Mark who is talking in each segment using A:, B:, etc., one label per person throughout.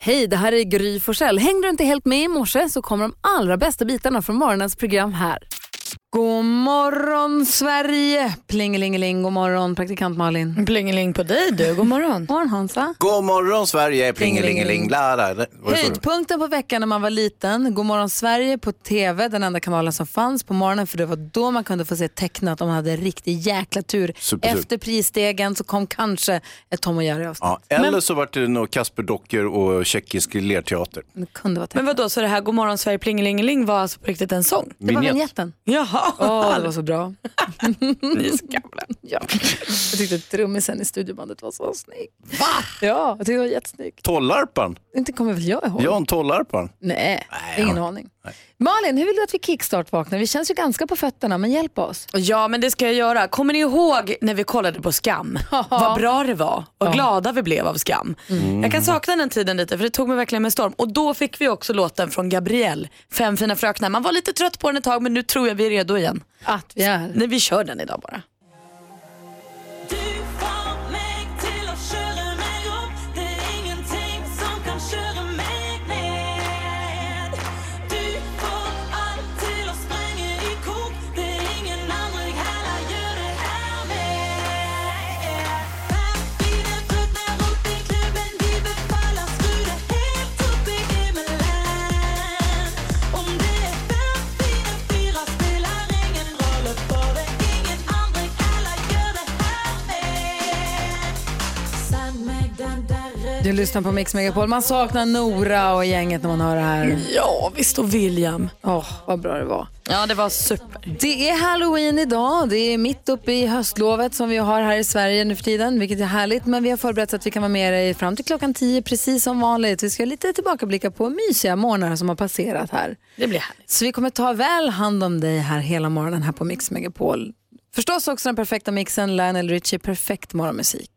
A: Hej, det här är Gry Forssell. Hängde du inte helt med i morse så kommer de allra bästa bitarna från morgonens program här. God morgon Sverige! Plingelingeling, god morgon praktikant Malin.
B: Plingeling på dig du, god morgon.
A: morgon Hansa.
C: God morgon Sverige, plingelingeling, la la. la. Var det så?
A: Höjdpunkten på veckan när man var liten, God morgon Sverige på TV, den enda kanalen som fanns på morgonen för det var då man kunde få se tecknat om man hade riktig jäkla tur.
C: Supertur.
A: Efter prisstegen så kom kanske ett Tom och Jerry avsnitt.
C: Ja, eller så var det nog Kasperdockor och tjeckisk lerteater.
A: Men det kunde vara tecknat.
B: Men vadå, så det här God morgon Sverige plingelingeling var alltså på riktigt en sång?
A: Det var
C: Vignett.
A: vinjetten.
B: Jaha,
A: Åh, det var så bra.
B: ni är så gamla.
A: Ja. Jag tyckte trummisen i studiobandet var så snygg. Va? Ja, jag tyckte det var jättesnyggt.
C: Tollarpan,
A: Inte kommer väl jag ihåg?
C: Jan Tollarpan.
A: Nej, ingen aning. Malin, hur vill du att vi kickstart-vaknar? Vi känns ju ganska på fötterna, men hjälp oss.
B: Ja men det ska jag göra. Kommer ni ihåg när vi kollade på Skam? Vad bra det var och glada vi blev av Skam. Jag kan sakna den tiden lite för det tog mig verkligen med storm. Och då fick vi också låten från Gabrielle, Fem fina fröknar. Man var lite trött på den ett tag men nu tror jag vi är redo igen.
A: Att vi är.
B: Nej, vi kör den idag bara.
D: Du får meg til å kjøre meg opp. Det er ingenting som kan kjøre meg ned. Du får alt til å sprenge i kok. Det er ingen andre jeg heller gjør det her med. Fem fine frøkner opp i klubben, de befaler skru det helt opp i himmelen. Om det er fem fine fyrer spiller ingen rolle, for det er ingen andre heller gjør det her med. Send meg den derre
A: Du lyssnar på Mix Megapol. Man saknar Nora och gänget när man hör det här.
B: Ja visst och William.
A: Åh, vad bra det var.
B: Ja det var super.
A: Det är halloween idag. Det är mitt uppe i höstlovet som vi har här i Sverige nu för tiden, vilket är härligt. Men vi har förberett så att vi kan vara med dig fram till klockan 10 precis som vanligt. Vi ska göra lite tillbakablicka på mysiga morgnar som har passerat här.
B: Det blir härligt.
A: Så vi kommer ta väl hand om dig här hela morgonen här på Mix Megapol. Förstås också den perfekta mixen, Lionel Richie, perfekt morgonmusik.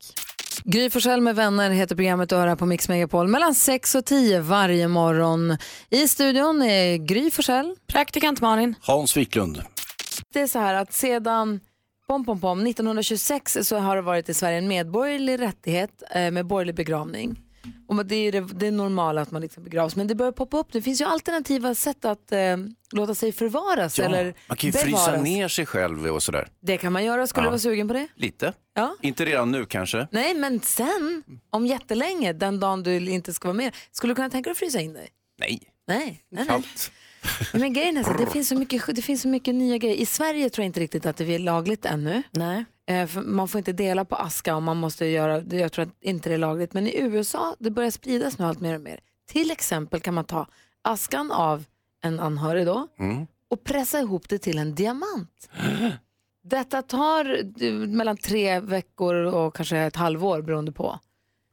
A: Gry Forssell med vänner heter programmet Öra på Mix Megapol mellan 6 och 10 varje morgon. I studion är Gry Forssell.
B: Praktikant Malin.
C: Hans Wiklund.
A: Det är så här att sedan pom, pom, pom, 1926 så har det varit i Sverige en medborgerlig rättighet eh, med borgerlig begravning. Och det är ju det, det är normala att man liksom begravs, men det börjar poppa upp. Det finns ju alternativa sätt att eh, låta sig förvaras
C: Ja,
A: eller
C: man kan ju
A: bevaras.
C: frysa ner sig själv och sådär.
A: Det kan man göra. Skulle
C: Ja.
A: du vara sugen på det?
C: Lite.
A: Ja.
C: Inte redan nu kanske.
A: Nej, men sen, om jättelänge, den dagen du inte ska vara med, skulle du kunna tänka dig att frysa in dig?
C: Nej.
A: Nej, nej, nej.
C: Kallt.
A: Men grejen är så att det finns så, mycket, det finns så mycket nya grejer. I Sverige tror jag inte riktigt att det är lagligt ännu.
B: Nej.
A: Eh, för man får inte dela på aska och man måste göra, det- jag tror att inte det är lagligt. Men i USA, det börjar spridas nu allt mer och mer. Till exempel kan man ta askan av en anhörig då
C: Mm.
A: och pressa ihop det till en diamant. Detta tar eh, mellan tre veckor och kanske ett halvår beroende på.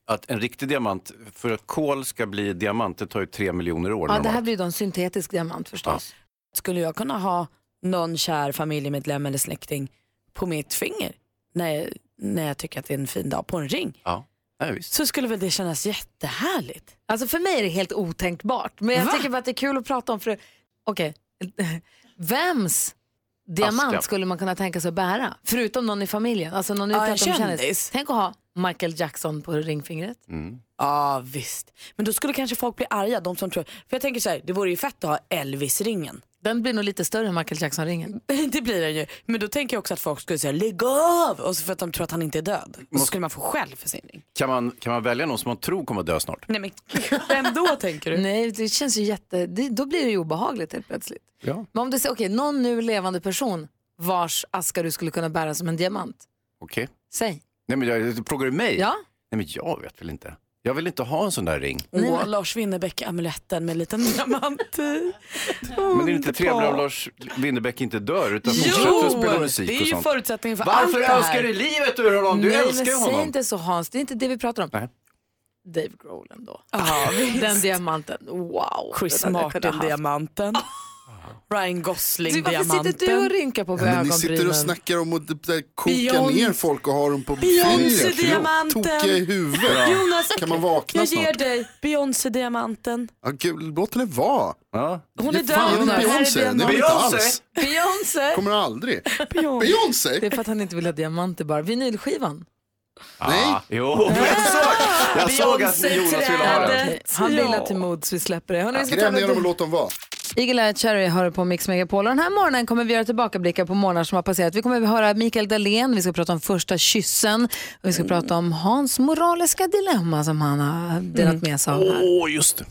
C: Att en riktig diamant, för att kol ska bli diamant, det tar ju tre miljoner år
A: Ja, det här
C: normalt.
A: blir då en syntetisk diamant förstås.
B: Skulle jag kunna ha någon kär familjemedlem eller släkting på mitt finger när jag, när jag tycker att det är en fin dag på en ring
C: Ja. Nej, visst.
B: så skulle väl det kännas jättehärligt.
A: Alltså för mig är det helt otänkbart. Men jag
B: Va?
A: tycker bara att det är kul att prata om. För... Okej, vems diamant
C: Aska.
A: skulle man kunna tänka sig att bära? Förutom någon i familjen. Alltså någon
B: Ja, en
A: utanför kändis.
B: kändis. Mm.
A: Tänk att ha Michael Jackson på ringfingret.
B: Ja visst, men då skulle kanske folk bli arga, de som tror, för jag tänker så här, det vore ju fett att ha Elvis-ringen.
A: Den blir nog lite större än Michael Jackson-ringen.
B: Det blir den ju, men då tänker jag också att folk skulle säga lägg av, och så för att de tror att han inte är död. Och så skulle man få skäll för sin ring.
C: Kan, man, kan man välja någon som man tror kommer att dö snart?
B: Nej men vem då tänker du?
A: Nej, det känns ju jätte... Det, då blir det ju obehagligt helt plötsligt.
C: Ja.
A: Men om du säger, okej, någon nu levande person vars aska du skulle kunna bära som en diamant.
C: Okej.
A: Säg.
C: Nej, men jag, frågar du mig?
A: Ja?
C: Nej, men jag vet väl inte. Jag vill inte ha en sån där ring.
B: Åh, Lars Winnerbäck-amuletten med en liten diamant i.
C: Men det är inte trevligare om Lars Winnerbäck inte dör utan fortsätter
B: Jo,
C: att spela
B: det
C: musik
B: är
C: och
B: ju
C: sånt.
B: förutsättningen för allt
C: Varför
B: det här.
C: önskar du livet ur honom? Du
A: Nej, men
C: älskar ju
A: Säg
C: honom.
A: inte så Hans, det är inte det vi pratar om.
C: Nej.
A: Dave Grohl ändå.
B: Ja, visst.
A: Den diamanten, wow.
B: Chris
A: Den hade jag kunnat haft.
B: Martin-diamanten. Ryan
A: Du, Alltså, varför
B: Gosling-diamanten.
A: sitter du och rynkar på
E: Men ni
A: ögonbrynen?
E: sitter och snackar om att där koka
B: Beyoncé-
E: ner folk och ha dem på
B: Beyoncé
E: fingret.
B: diamanten.
E: Tokiga i huvudet.
B: Jonas,
E: Kan man vakna
B: jag ger
E: snart?
B: dig Beyoncé-diamanten.
E: Ja, gud, låt henne vara.
C: Ja.
B: Hon är
E: Ge fan i
B: död. Här är
E: Beyoncé. Det
B: diamanten.
E: vill inte
C: Beyoncé.
E: alls.
A: Beyoncé!
E: Kommer aldrig.
B: Beyoncé.
E: Beyoncé?
A: Det är för att han inte vill ha diamanter bara. Vinylskivan.
E: Nej.
C: Ah, jo, jag såg, jag såg att
B: Beyoncé
C: Jonas ville ha den.
B: trädet.
A: Okej, Han vill
B: Ja.
A: att till mods vi släpper det. Hörrni, vi ska
E: Gräv
A: tävla
E: ner dem och
A: ut-
E: låt dem vara.
A: Eagle Eye Cherry har du på Mix Megapol och den här morgonen kommer vi göra tillbakablickar på morgnar som har passerat. Vi kommer att höra Mikael Dahlén, vi ska prata om första kyssen och vi ska prata om Hans moraliska dilemma som han har delat med sig av här.
C: Åh, just det.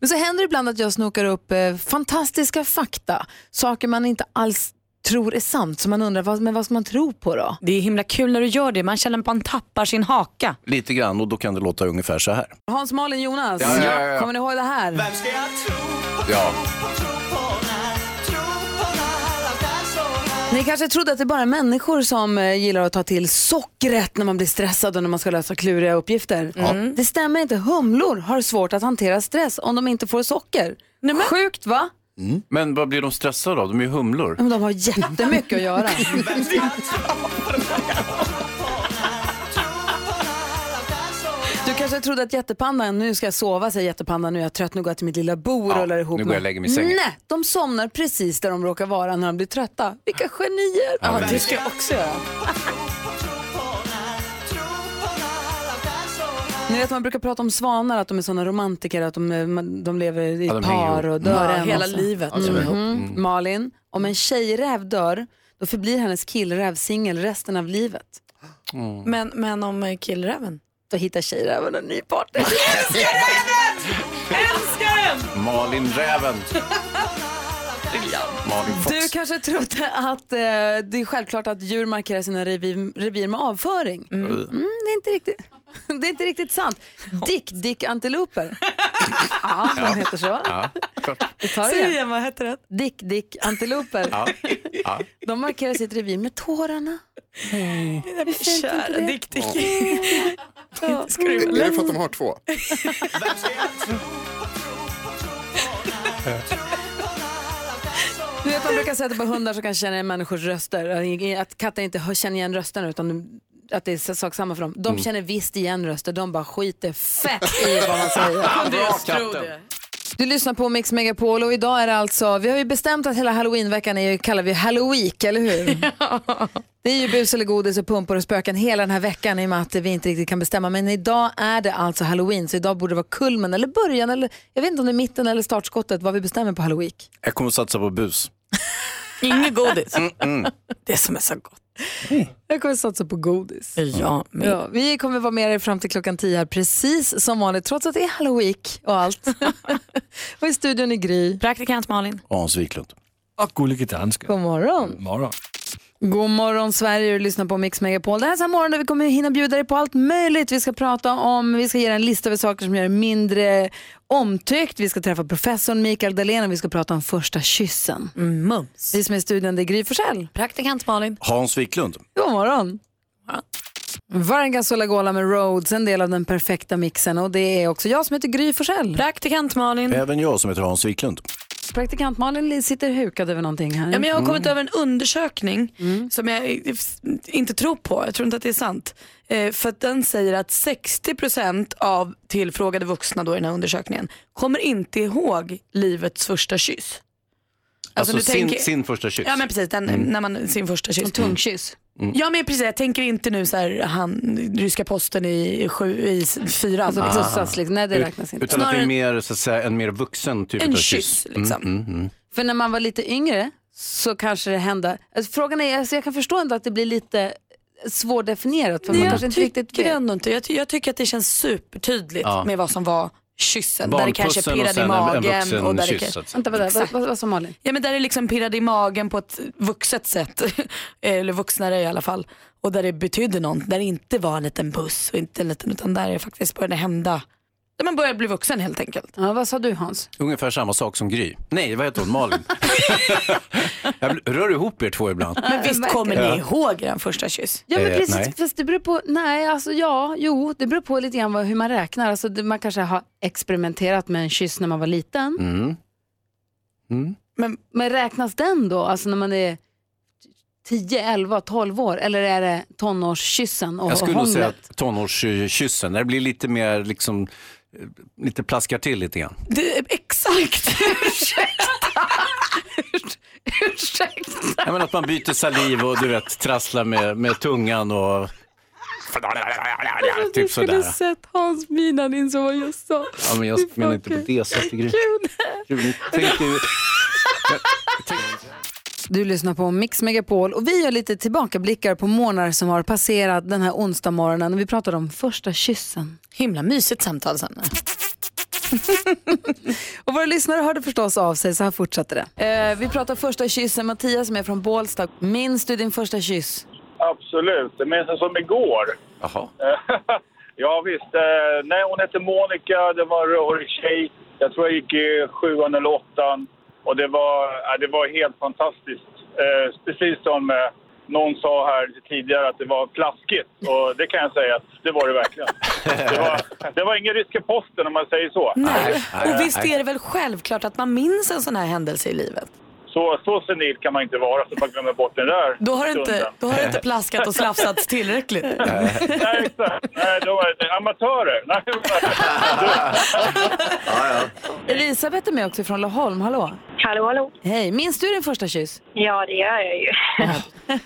A: Men så händer det ibland att jag snokar upp eh, fantastiska fakta, saker man inte alls tror är sant, så man undrar vad, men vad ska man tro på då?
B: Det är himla kul när du gör det. Man känner att man tappar sin haka.
C: Lite grann och då kan det låta ungefär så här.
A: Hans, Malin, Jonas,
C: Ja, ja, ja, ja.
A: kommer ni ihåg det här?
C: Ja.
A: Ni kanske trodde att det är bara människor som eh, gillar att ta till sockret när man blir stressad och när man ska lösa kluriga uppgifter. Mm. Det stämmer inte, humlor har svårt att hantera stress om de inte får socker. Sjukt va?
C: Men vad blir de stressade av? De är ju humlor.
A: Men de har jättemycket att göra. Du kanske trodde att jättepandan, nu ska jag sova, säger jättepandan, nu är jag trött, nu går jag till mitt lilla bo och
C: Ja,
A: rullar ihop
C: nu går jag och lägger mig i sängen.
A: Nej, de somnar precis där de råkar vara när de blir trötta. Vilka genier!
C: Ja, men-
A: ska jag också göra. Ni vet man brukar prata om svanar, att de är sådana romantiker, att de, eh, man- de lever i
C: Ja, de hänger
A: par
C: ihop.
A: och dör en
B: hela alltså.
A: och så.
B: livet.
C: Alltså.
A: Mm. Malin, om en tjejräv dör, då förblir hennes killräv singel resten av livet.
B: Men, men om eh, killräven?
A: Då hittar tjejräven en ny partner.
C: Malin Räven. Malin Fox.
A: Du kanske trodde att eh, det är självklart att djur markerar sina revir, revir med avföring. Mm. det, är inte riktigt, det är inte riktigt sant. Dick, dick antiloper. ja, de heter så.
C: Ja, klart.
A: Vi tar det
B: Säg
A: igen.
B: igen, vad hette det?
A: Dick, dick antiloper.
C: Ja. Ja.
A: De markerar sitt revir med tårarna. Hur fint är inte
B: Kära
A: det?
B: Dick Dick. Inte skruva.
E: Är det för att de har två?
A: Du vet, man brukar säga att det är bara hundar som kan känna igen människors röster. Att katter inte hör- känner igen rösterna utan att det är sak samma för dem.
C: Mm.
A: De känner visst igen röster, de bara skiter fett i vad man säger.
C: Bra katten.
A: Du lyssnar på Mix Megapol och idag är det alltså, vi har ju bestämt att hela halloweenveckan är, ju- kallar vi Halloweek, eller hur? det är ju bus eller godis och pumpor och spöken hela den här veckan i och med att vi inte riktigt kan bestämma. Men idag är det alltså halloween så idag borde det vara kulmen eller början eller jag vet inte om det är mitten eller startskottet vad vi bestämmer på halloweek.
C: Jag kommer att satsa på bus.
B: Inget godis.
C: Mm,
B: Det som är så gott.
A: Jag kommer satsa på godis.
B: Ja, men.
A: Ja, vi kommer vara med er fram till klockan 10 här precis som vanligt trots att det är halloween och allt. och i studion är Gry.
B: Praktikant Malin.
C: Hans Wiklund.
F: och gullige danska.
A: God morgon.
F: Morgon.
A: God morgon Sverige, du lyssnar på Mix Megapol. Det här är så här morgon där vi kommer hinna bjuda dig på allt möjligt. Vi ska prata om, vi ska ge dig en lista över saker som gör dig mindre omtyckt. Vi ska träffa professorn Mikael Dahlén och vi ska prata om första kyssen.
B: Mums.
A: Vi som är i studion, det är Gry Forssell.
B: Praktikant Malin.
C: Hans Wiklund.
A: God morgon. Varga Solagola med Rhodes, en del av den perfekta mixen. Och det är också jag som heter Gry Forssell.
B: Praktikant Malin.
C: Även jag som heter Hans Wiklund.
A: Praktikant Malin sitter hukad över någonting här.
B: Ja, men jag har kommit över en undersökning som jag eh, f- inte tror på. Jag tror inte att det är sant. Eh, för att den säger att 60% av tillfrågade vuxna då i den här undersökningen kommer inte ihåg livets första kyss.
C: Alltså,
B: nu
C: sin,
B: tänker-
C: sin första kyss.
B: Ja men precis, den, när man sin första Mm. kyss. Mm.
A: Tungkyss.
B: Ja men precis, jag tänker inte nu så här, han, ryska posten i, sju, i s- fyran.
A: Alltså pussas liksom. Nej, det räknas inte.
C: Utan att det
B: Snarare-
C: är mer, så att säga, en mer vuxen typ
B: en
C: av
B: Ah. kyss,
C: kyss.
B: liksom.
A: För när man var lite yngre så kanske det hände. Alltså, frågan är, alltså, jag kan förstå ändå att det blir lite svårdefinierat för man
B: Jag
A: kanske inte riktigt
B: tycker
A: vet.
B: ändå inte, jag, ty- jag tycker att det känns supertydligt
C: Ja.
B: med vad som var kyssen. Där det kanske
C: Barnpussen och
B: pirrade i
C: sen en, en
B: magen.
C: vuxen
B: och där
C: kyss.
B: det,
C: så
B: kan-
C: att säga.
A: Vänta, vad, vad, vad, vad sa Malin?
B: ja, men där det liksom pirrade i magen på ett vuxet sätt. Eller vuxnare i alla fall. Och där det betydde något. Där det inte var en liten puss och inte en liten, utan där det faktiskt började hända. Där man började bli vuxen helt enkelt.
A: Ja, vad sa du Hans?
C: Ungefär samma sak som Gry. Nej, vad heter hon? Malin. jag rör ihop er två ibland.
B: Men visst
A: verkligen.
B: kommer ni ihåg er första kyss?
A: Ja men
C: Eh,
A: precis,
C: nej.
A: fast det beror på, nej alltså ja, jo, det beror på lite grann vad, hur man räknar. Alltså, det, man kanske har experimenterat med en kyss när man var liten.
C: Mm.
B: Men
A: Men räknas den då, alltså när man är 10, 11, 12 år? Eller är det tonårskyssen och
C: Jag skulle nog
A: hånglet?
C: säga att tonårskyssen, när det blir lite mer liksom, eh, lite plaskar till lite grann.
B: det, exakt!
A: Ursäkta!
C: Jag menar att man byter saliv och du vet trasslar med, med tungan och typ sådär.
B: sett Hans min han insåg vad jag sa.
C: Ja, men jag menar inte på det sättet. Gry. Gud, ni tänker-
A: Du lyssnar på Mix Megapol och vi gör lite tillbakablickar på månader som har passerat den här onsdag morgonen. Vi pratade om första kyssen.
B: Himla mysigt samtal sen.
A: Och våra lyssnare hörde förstås av sig, så här fortsatte det. Eh, vi pratar första kyssen, Mattias som är från Bålsta. Minns du din första kyss?
F: Absolut, men så som igår.
C: Jaha.
F: ja visst, eh, nej, hon hette Monica, det var en rörig tjej. Jag tror jag gick i sjuan eller åttan. Och det var, ja, det var helt fantastiskt. Eh, precis som eh, någon sa här tidigare att det var plaskigt. Och det kan jag säga att det var det verkligen. Det var, det var ingen ryska posten om man säger så.
B: Nej.
C: nej,
B: Och visst
C: nej.
B: är det väl självklart att man minns en sån här händelse i livet?
F: Så, så senil kan man inte vara så man glömmer bort den där
B: Då har det inte,
F: stunden.
B: då har det inte plaskat och slafsats tillräckligt.
F: Nej, exakt. Nej, då var det amatörer. Nej,
A: Elisabeth är med också från Laholm, hallå.
G: Hallå, hallå.
A: Hej, minns du din första kyss?
G: Ja, det gör jag ju.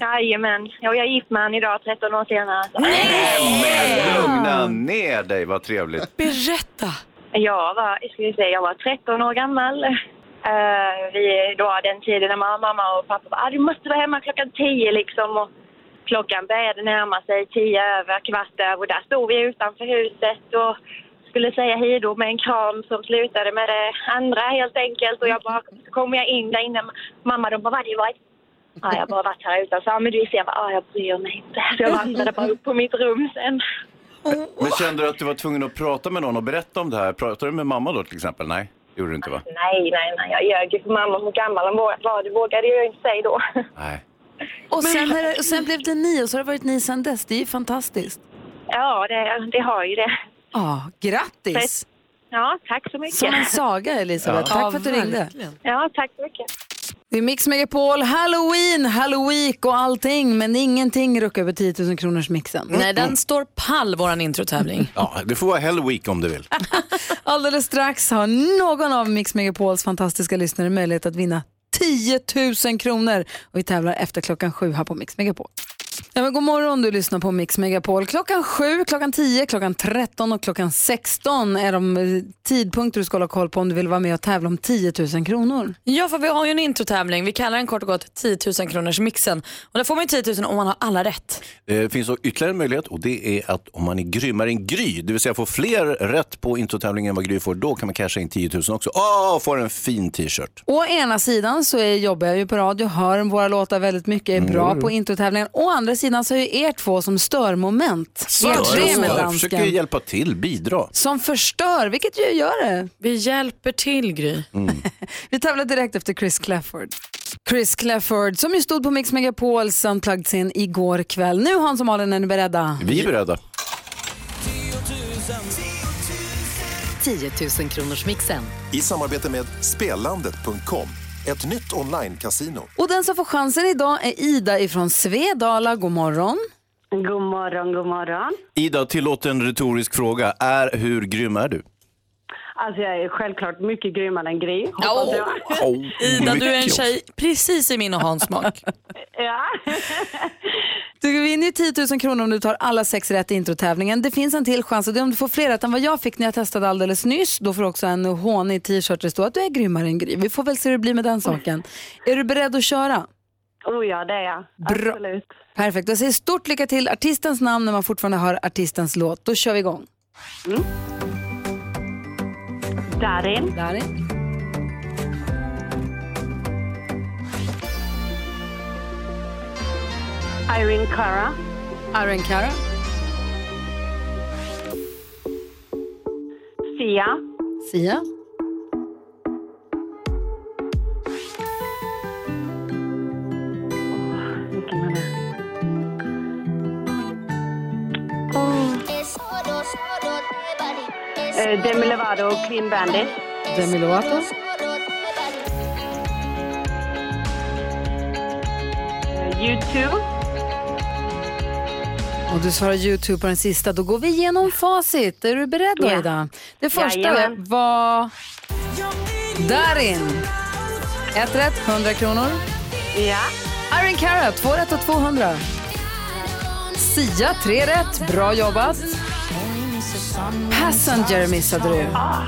G: Jajamän. Ja, jag är gift med han idag, 13 år senare. Så.
C: Lugna ner dig, vad trevligt.
B: Berätta!
G: Jag var, ska vi säga, jag var 13 år gammal. Eh, vi då hade den tiden när mamma, mamma och pappa bara, ah, du måste vara hemma klockan 10 liksom. Och klockan började närma sig 10 över, kvart över. Och där stod vi utanför huset och skulle säga hej då med en kram som slutade med det andra helt enkelt. Och jag bara, så kom jag in där inne. Mamma de bara, vad det var ett Ja, jag har bara varit här utan så, ja, men du ser, jag bara, ja, jag bryr mig inte. Så jag vandrade bara upp på mitt rum sen.
C: Men kände du att du var tvungen att prata med någon och berätta om det här? Pratade du med mamma då till exempel? Nej, det gjorde du inte va?
G: Nej, nej, nej. Jag ljög ju för mamma hur gammal hon var. var. Det vågade jag ju inte säga då.
C: Nej.
A: Och sen, är det, och sen blev det ni och så har det varit ni sen dess. Det är ju fantastiskt.
G: Ja, det, det har ju det.
A: Ja, grattis!
G: Ja, tack så mycket.
A: Som en saga, Elisabeth. Tack för att du ringde.
B: verkligen.
G: Ja, tack så mycket.
A: Det är Mix Megapol, Halloween, Halloween och allting, men ingenting ruckar över 10 000 kronors mixen.
B: Nej, den står pall, våran introtävling.
C: Ja, det får vara Hell Week om du vill.
A: Alldeles strax har någon av Mix Megapols fantastiska lyssnare möjlighet att vinna 10 000 kronor. Och vi tävlar efter klockan sju här på Mix Megapol. Ja, men god morgon, du lyssnar på Mix Megapol. Klockan sju, klockan 10, klockan 13 och klockan 16 är de eh, tidpunkter du ska hålla koll på om du vill vara med och tävla om 10 000 kronor.
B: Ja, för vi har ju en introtävling. Vi kallar den kort och gott 10 000 kronors mixen. Och där får man ju 10 000 om man har alla rätt.
C: Det finns då ytterligare en möjlighet och det är att om man är grymmare än Gry, det vill säga får fler rätt på introtävlingen än vad Gry får, då kan man casha in 10 000 också. Åh, får en fin t-shirt.
A: Å ena sidan så är, jobbar jag ju på radio, hör våra låtar väldigt mycket, är bra på introtävlingen. Å andra sidan så är ju er två som störmoment. Ert
C: Stör,
A: tre med
C: stör.
A: dansken.
C: Försöker hjälpa till, bidra.
A: som förstör, vilket ju gör det.
B: Vi hjälper till, Gry.
A: Vi tävlar direkt efter Chris Clafford. Chris Clafford som ju stod på Mix Megapols Unplugged-scen igår kväll. Nu Hans och Malin, är ni beredda?
C: Vi är beredda.
H: 10 000 kronors mixen.
I: I samarbete med Spelandet.com, ett nytt online-casino.
A: Och den som får chansen idag är Ida ifrån Svedala. God morgon.
J: God morgon, god morgon.
C: Ida, tillåt en retorisk fråga. Är, hur grym är du?
J: Alltså jag är självklart mycket grymmare än Gry. hoppas jag.
B: Ida, du är en
C: Mm. mycket
B: tjej precis i min och Hans smak.
J: Ja.
A: Du vinner ju 10 000 kronor om du tar alla sex rätt i introtävlingen. Det finns en till chans och det är om du får fler rätt än vad jag fick när jag testade alldeles nyss. Då får du också en hånig t-shirt där det står att du är grymmare än Gry. Vi får väl se hur det blir med den saken. Är du beredd att köra?
J: Oh ja, det är jag.
A: Bra.
J: Absolut.
A: Perfekt. Jag säger stort lycka till. Artistens namn när man fortfarande hör artistens låt. Då kör vi igång.
J: Darin,
A: Darin.
J: Irene Cara,
A: Aaron Cara.
J: Sia,
A: Sia.
J: vilken är det? Eh, Demi Lovato och Clean Bandit.
A: Demi Lovato.
J: Eh, U2.
A: Och du svarar YouTube på den sista. Då går vi igenom facit. Är du beredd då,
J: Ja.
A: Ida? Det första
J: Jajamän.
A: var Darin. Ett rätt, 100 kronor.
J: Ja.
A: Aaron Cara, två rätt och 200. Sia, tre rätt. Bra jobbat. Passenger missade du.
J: Ah.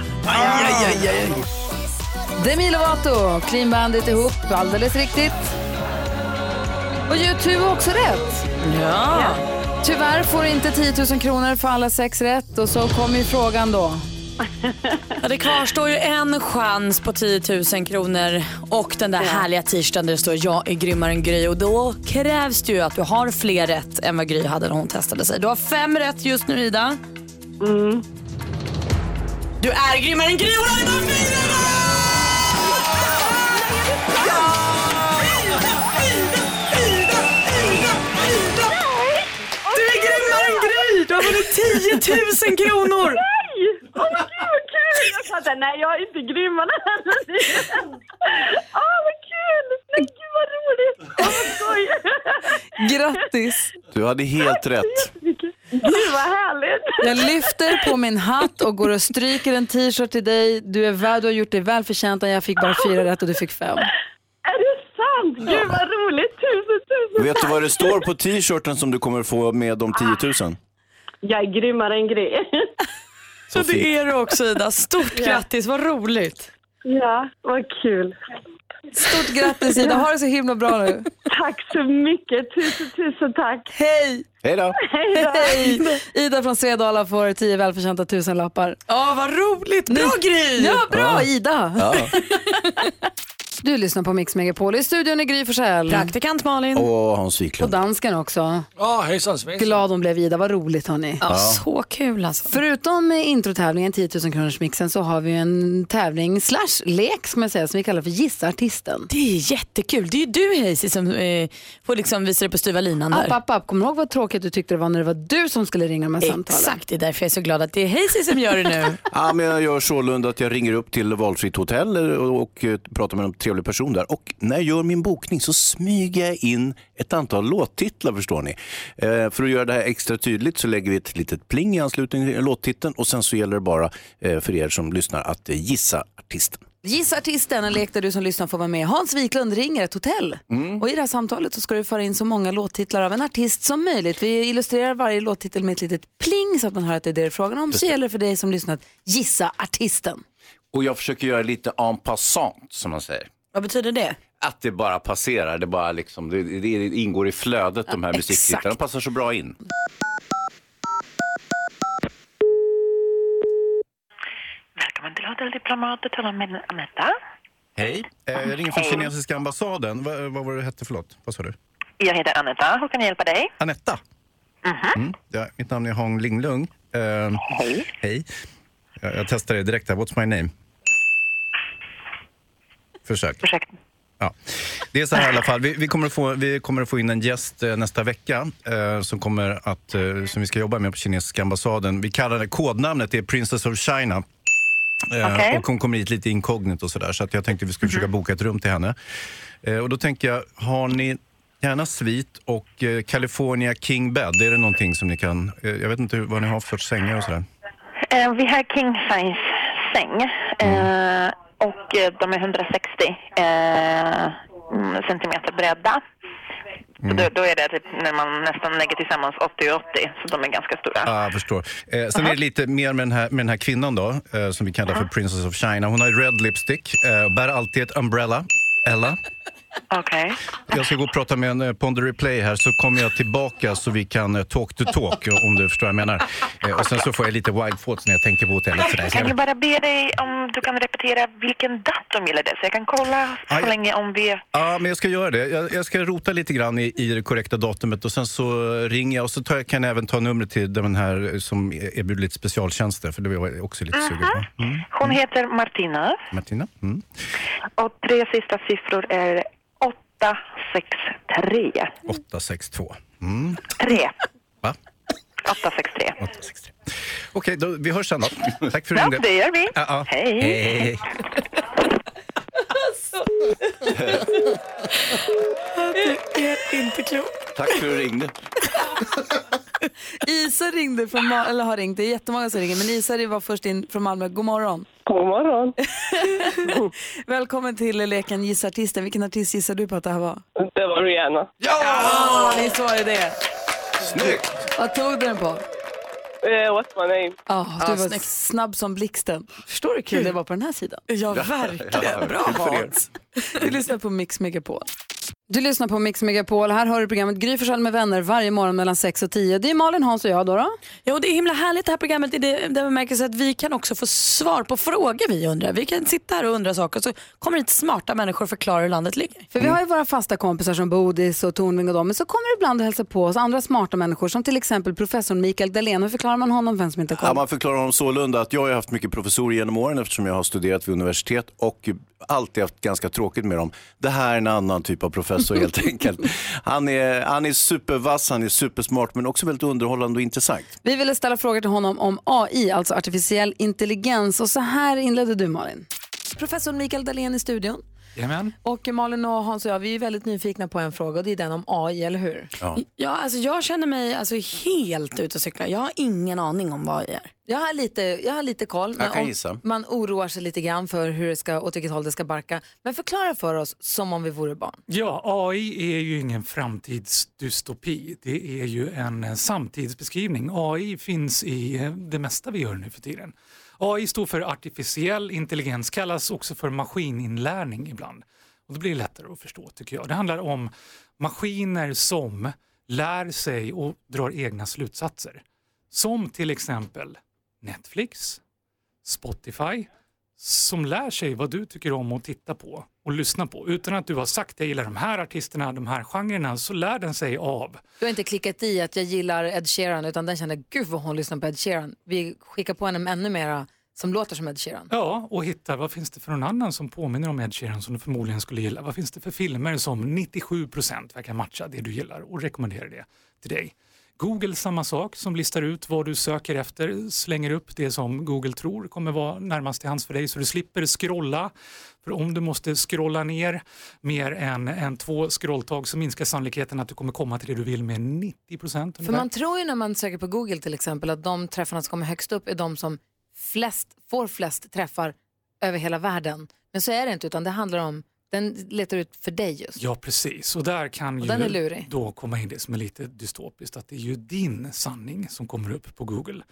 A: Demi Lovato, Clean Bandit ihop, alldeles riktigt. Och YouTube var också rätt.
B: Ja.
A: Tyvärr får du inte 10 000 kronor för alla sex rätt och så kommer ju frågan då.
B: Ja, det kvarstår ju en chans på 10 000 kronor och den där härliga tisdagen där det står jag är grymmare än Gry och då krävs det ju att du har fler rätt än vad Gry hade när hon testade sig. Du har fem rätt just nu Ida. Du är grymmare än Gry och Ida Du är grymmare än Gry! Du har vunnit 10 000 kronor!
J: Åh gud vad kul! Jag sa såhär, nej jag är inte grymmare än ni. Åh vad kul! Nej gud vad roligt! Åh vad skoj!
A: Grattis!
C: Du hade helt rätt.
J: Gud vad härligt!
A: Jag lyfter på min hatt och går och stryker en t-shirt till dig. Du är värd, du har gjort dig välförtjänt. Jag fick bara fyra rätt och du fick fem.
J: Är det sant? Gud vad roligt! Tusen tusen
C: Vet du
J: tack!
C: vad det står på t-shirten som du kommer få med de 10 000?
J: Jag är grymmare än Gry.
C: Så fint.
B: är du också Ida. Stort grattis, vad roligt.
J: Ja, vad kul.
A: Stort grattis Ida, ha det så himla bra nu.
J: Tack så mycket. Tusen tusen tack.
A: Hej!
C: Hej då.
J: Hej då!
A: Hej! Ida från Svedala får tio välförtjänta tusenlappar.
B: Ja, vad roligt. Bra Gry!
A: Ja, bra Ida!
C: Ja.
A: Du lyssnar på Mix Megapol. I studion är Gry Forssell.
B: Praktikant Malin.
C: Och Hans
A: Och
C: Wiklund.
A: dansken också.
K: Ja, hejsan svejsan.
A: Glad hon blev Ida, vad roligt hörni.
B: Ja, så kul alltså.
A: Förutom eh, introtävlingen 10 000 kronors mixen så har vi ju en tävling slash lek ska man säga, som vi kallar för Gissa artisten.
B: Det är jättekul. Det är ju du Hazy som eh, får liksom visa dig på styva linan
A: App,
B: där.
A: app, app. Kommer du ihåg vad tråkigt du tyckte det var när det var du som skulle ringa de här samtalen?
B: Exakt, det är därför jag är så glad att det är Hazy som gör det nu.
C: Ja, men jag gör sålunda att jag ringer upp till valfritt hotell och, och eh, pratar med en trevlig person där. Och när jag gör min bokning så smyger jag in ett antal låttitlar förstår ni. Eh, för att göra det här extra tydligt så lägger vi ett litet pling i anslutning till låttiteln och sen så gäller det bara eh, för er som lyssnar att eh, gissa artisten.
A: Gissa artisten, en lek där du som lyssnar får vara med. Hans Wiklund ringer ett hotell.
B: Mm.
A: Och i det här samtalet så ska du föra in så många låttitlar av en artist som möjligt. Vi illustrerar varje låttitel med ett litet pling så att man hör att det är det det är frågan om. Så gäller det för dig som lyssnat, gissa artisten.
C: Och jag försöker göra lite en passant som man säger.
B: Vad betyder det?
C: Att det bara passerar, det, bara liksom, det, det ingår i flödet de här musiktitlarna. De passar så bra in.
L: Välkommen till Hotell Diplomat. Du talar med Anetta.
C: Hej, Eh, jag ringer från kinesiska ambassaden. Vad, vad var det hette, förlåt? Vad sa du?
L: Jag heter Anetta. Hur kan jag hjälpa dig?
C: Anetta.
L: Mm-hmm.
C: Mm. Ja, mitt namn är Hong Linglung. Eh, hej. Jag, jag testar det direkt här. What's my name? Försök.
L: Ursäkta.
C: Ja. Det är så här i alla fall. Vi, vi, kommer att få, vi kommer att få in en gäst eh, nästa vecka eh, som, kommer att, eh, som vi ska jobba med på kinesiska ambassaden. Vi kallar det, kodnamnet är Princess of China. Eh,
L: Okej.
C: Och hon kommer hit lite inkognito och sådär. Så att jag tänkte vi skulle försöka boka ett rum till henne. Eh, och då tänker jag, har ni gärna svit och eh, California King Bed? Är det någonting som ni kan... Eh, jag vet inte hur, vad ni har för sängar och sådär.
L: Eh, vi har king size säng.
C: Mm.
L: Eh, och eh, de är 160 eh, mm, centimeter breda.
C: Mm.
L: Så Då, då är det typ när man nästan lägger tillsammans 80 och 80, så de är ganska stora.
C: Ja, jag förstår. Eh, sen är det lite mer med den här, med den här kvinnan då, eh, som vi kallar för Princess of China. Hon har ju red lipstick, eh, och bär alltid ett umbrella. Ella.
L: Okej.
C: Jag ska gå och prata med en eh, Ponder Replay här, så kommer jag tillbaka så vi kan eh, talk to talk, eh, om du förstår vad jag menar. Eh, och sen så får jag lite wild thoughts när jag tänker på hotellet. Sådär. Så
L: Kan jag
C: jag,
L: bara be dig om du kan repetera vilken datum gäller det? Så jag kan kolla så
C: Aj.
L: länge om vi...
C: ja, men jag ska göra det. Jag, jag ska rota lite grann i, i det korrekta datumet och sen så ringer jag och så tar, jag- kan jag även ta numret till den här eh, som erbjuder lite specialtjänster, för det var jag också lite sugen på. Mm,
L: Hon heter Martina
C: Martina? Mm.
L: och tre sista siffror är 863.
C: 862. Mm.
L: 3.
C: Va?
L: 863.
C: 863. Okej, då, vi hörs sen då. Tack för
L: Ja,
C: ringde.
L: det gör vi.
C: Ja, ja.
L: Hej.
C: hej.
B: Det är inte klokt.
C: Tack för att du ringde.
A: Isa ringde från Malmö, eller har ringt, det är jättemånga som ringer, men Isa var först in från Malmö. God morgon.
J: God morgon.
A: Välkommen till leken Gissa artisten. Vilken artist gissar du på att det här var?
J: Det var Rihanna.
A: Ja, ni svarade det.
C: Snyggt!
A: Vad tog du den på?
K: Eh, what's my name?
A: Ja, du var snabb som blixten. Förstår du hur kul det var på den här sidan?
B: Ja,
K: verkligen. Bra, Hans.
A: Du lyssnar på Mix Megapol. Du lyssnar på Mix Megapol. Här har du programmet Gry Forssell med vänner varje morgon mellan 6 och 10. Det är Malin, Hans och jag då. då.
B: Ja, och det är himla härligt det här programmet i det- den bemärkelsen att vi kan också få svar på frågor vi undrar. Vi kan sitta här och undra saker så kommer hit smarta människor och förklarar hur landet ligger.
A: För vi har ju våra fasta kompisar som Bodis och Tornving och dem. Men så kommer det ibland och hälsa på oss andra smarta människor som till exempel professor Mikael Dahlén. Hur förklarar man honom för den som inte har koll?
C: Ja, man förklarar honom sålunda att jag har ju haft mycket professorer genom åren eftersom jag har studerat vid universitet och alltid haft ganska tråkigt med dem. Det här är en annan typ av professor helt enkelt. Han är, han är supervass, han är supersmart men också väldigt underhållande och intressant.
A: Vi ville ställa frågor till honom om AI, alltså artificiell intelligens. Och så här inledde du Malin. Professor Mikael Dahlén i studion.
M: Jajamän.
A: Och Malin och Hans och jag, vi är väldigt nyfikna på en fråga och det är den om AI, eller hur?
M: Ja.
B: Ja, alltså jag känner mig alltså, helt ute och cyklar. Jag har ingen aning om vad jag är.
A: Jag har lite, jag har lite koll.
B: Jag kan
A: om-
B: gissa.
A: Man oroar sig lite grann för hur det ska, åt vilket håll det ska barka. Men förklara för oss som om vi vore barn.
M: Ja, AI är ju ingen framtidsdystopi. Det är ju en eh, samtidsbeskrivning. AI finns i eh, det mesta vi gör nu för tiden. AI står för artificiell intelligens, kallas också för maskininlärning ibland. Och då blir det lättare att förstå tycker jag. Det handlar om maskiner som lär sig och drar egna slutsatser. Som till exempel Netflix, Spotify som lär sig vad du tycker om att titta på och lyssna på. Utan att du har sagt jag gillar de här artisterna, de här genrerna, så lär den sig av.
A: Du har inte klickat i att jag gillar Ed Sheeran utan den känner gud vad hon lyssnar på Ed Sheeran. Vi skickar på henne ännu mera som låter som Ed Sheeran.
M: Ja, och hittar vad finns det för någon annan som påminner om Ed Sheeran som du förmodligen skulle gilla. Vad finns det för filmer som 97% verkar matcha det du gillar och rekommenderar det till dig. Google samma sak som listar ut vad du söker efter, slänger upp det som Google tror kommer vara närmast till hands för dig så du slipper scrolla. För om du måste scrolla ner mer än, än två scrolltag så minskar sannolikheten att du kommer komma till det du vill med 90% ungefär.
A: För man tror ju när man söker på Google till exempel att de träffarna som kommer högst upp är de som flest, får flest träffar över hela världen. Men så är det inte utan det handlar om, den letar ut för dig just.
M: Ja, precis. Och där kan
A: Och
M: ju
A: den är lurig.
M: då komma in det som är lite dystopiskt, att det är ju din sanning som kommer upp på Google.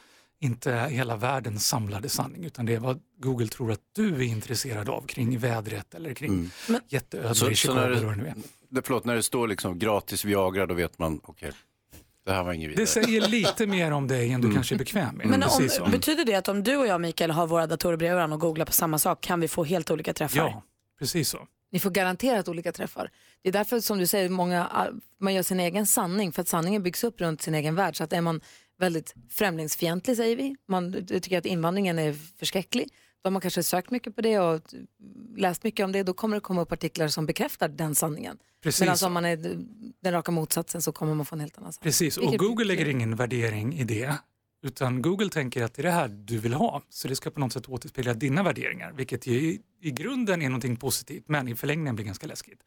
M: Inte hela världens samlade sanning, utan det är vad Google tror att du är intresserad av kring vädret eller kring jätteödlor i Chicago.
C: när
M: eller vad det nu
C: det,
M: är.
C: det, förlåt, när det står liksom gratis Viagra då vet man, okej, det här var inget vidare.
M: Det säger lite mer om dig än du kanske är bekväm med.
B: Men om,
M: Precis så.
B: betyder det att om du och jag Mikael har våra datorer bredvid varandra och googlar på samma sak kan vi få helt olika träffar?
M: Ja, precis så.
A: Ni får garanterat olika träffar. Det är därför som du säger, många, man gör sin egen sanning för att sanningen byggs upp runt sin egen värld. Så att är man väldigt främlingsfientlig säger vi, man tycker att invandringen är förskräcklig, då har man kanske sökt mycket på det och läst mycket om det, då kommer det komma upp artiklar som bekräftar den sanningen.
M: Precis
A: Medan
M: så.
A: om man är den raka motsatsen så kommer man få en helt annan sanning.
M: Precis, och
A: Vilket-
M: Google lägger ingen värdering i det. Utan Google tänker att det är det här du vill ha. Så det ska på något sätt återspegla dina värderingar. Vilket ju i, i grunden är någonting positivt, men i förlängningen blir ganska läskigt.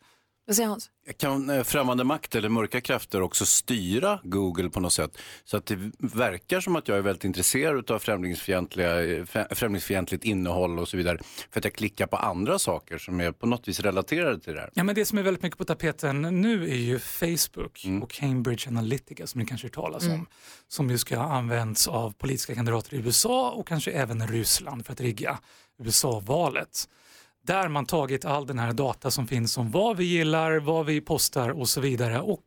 A: Vad säger Hans?
C: Kan eh, främmande makt eller mörka krafter också styra Google på något sätt? Så att det verkar som att jag är väldigt intresserad av främlingsfientliga, eh, frä- främlingsfientligt innehåll och så vidare. För att jag klickar på andra saker som är på något vis relaterade till det här.
M: Ja, men det som är väldigt mycket på tapeten nu är ju Facebook och Cambridge Analytica som ni kanske hört talas om.
N: Mm.
M: Som ju ska ha använts av politiska kandidater i USA och kanske även Ryssland för att rigga USA-valet. Där man tagit all den här data som finns om vad vi gillar, vad vi postar och så vidare och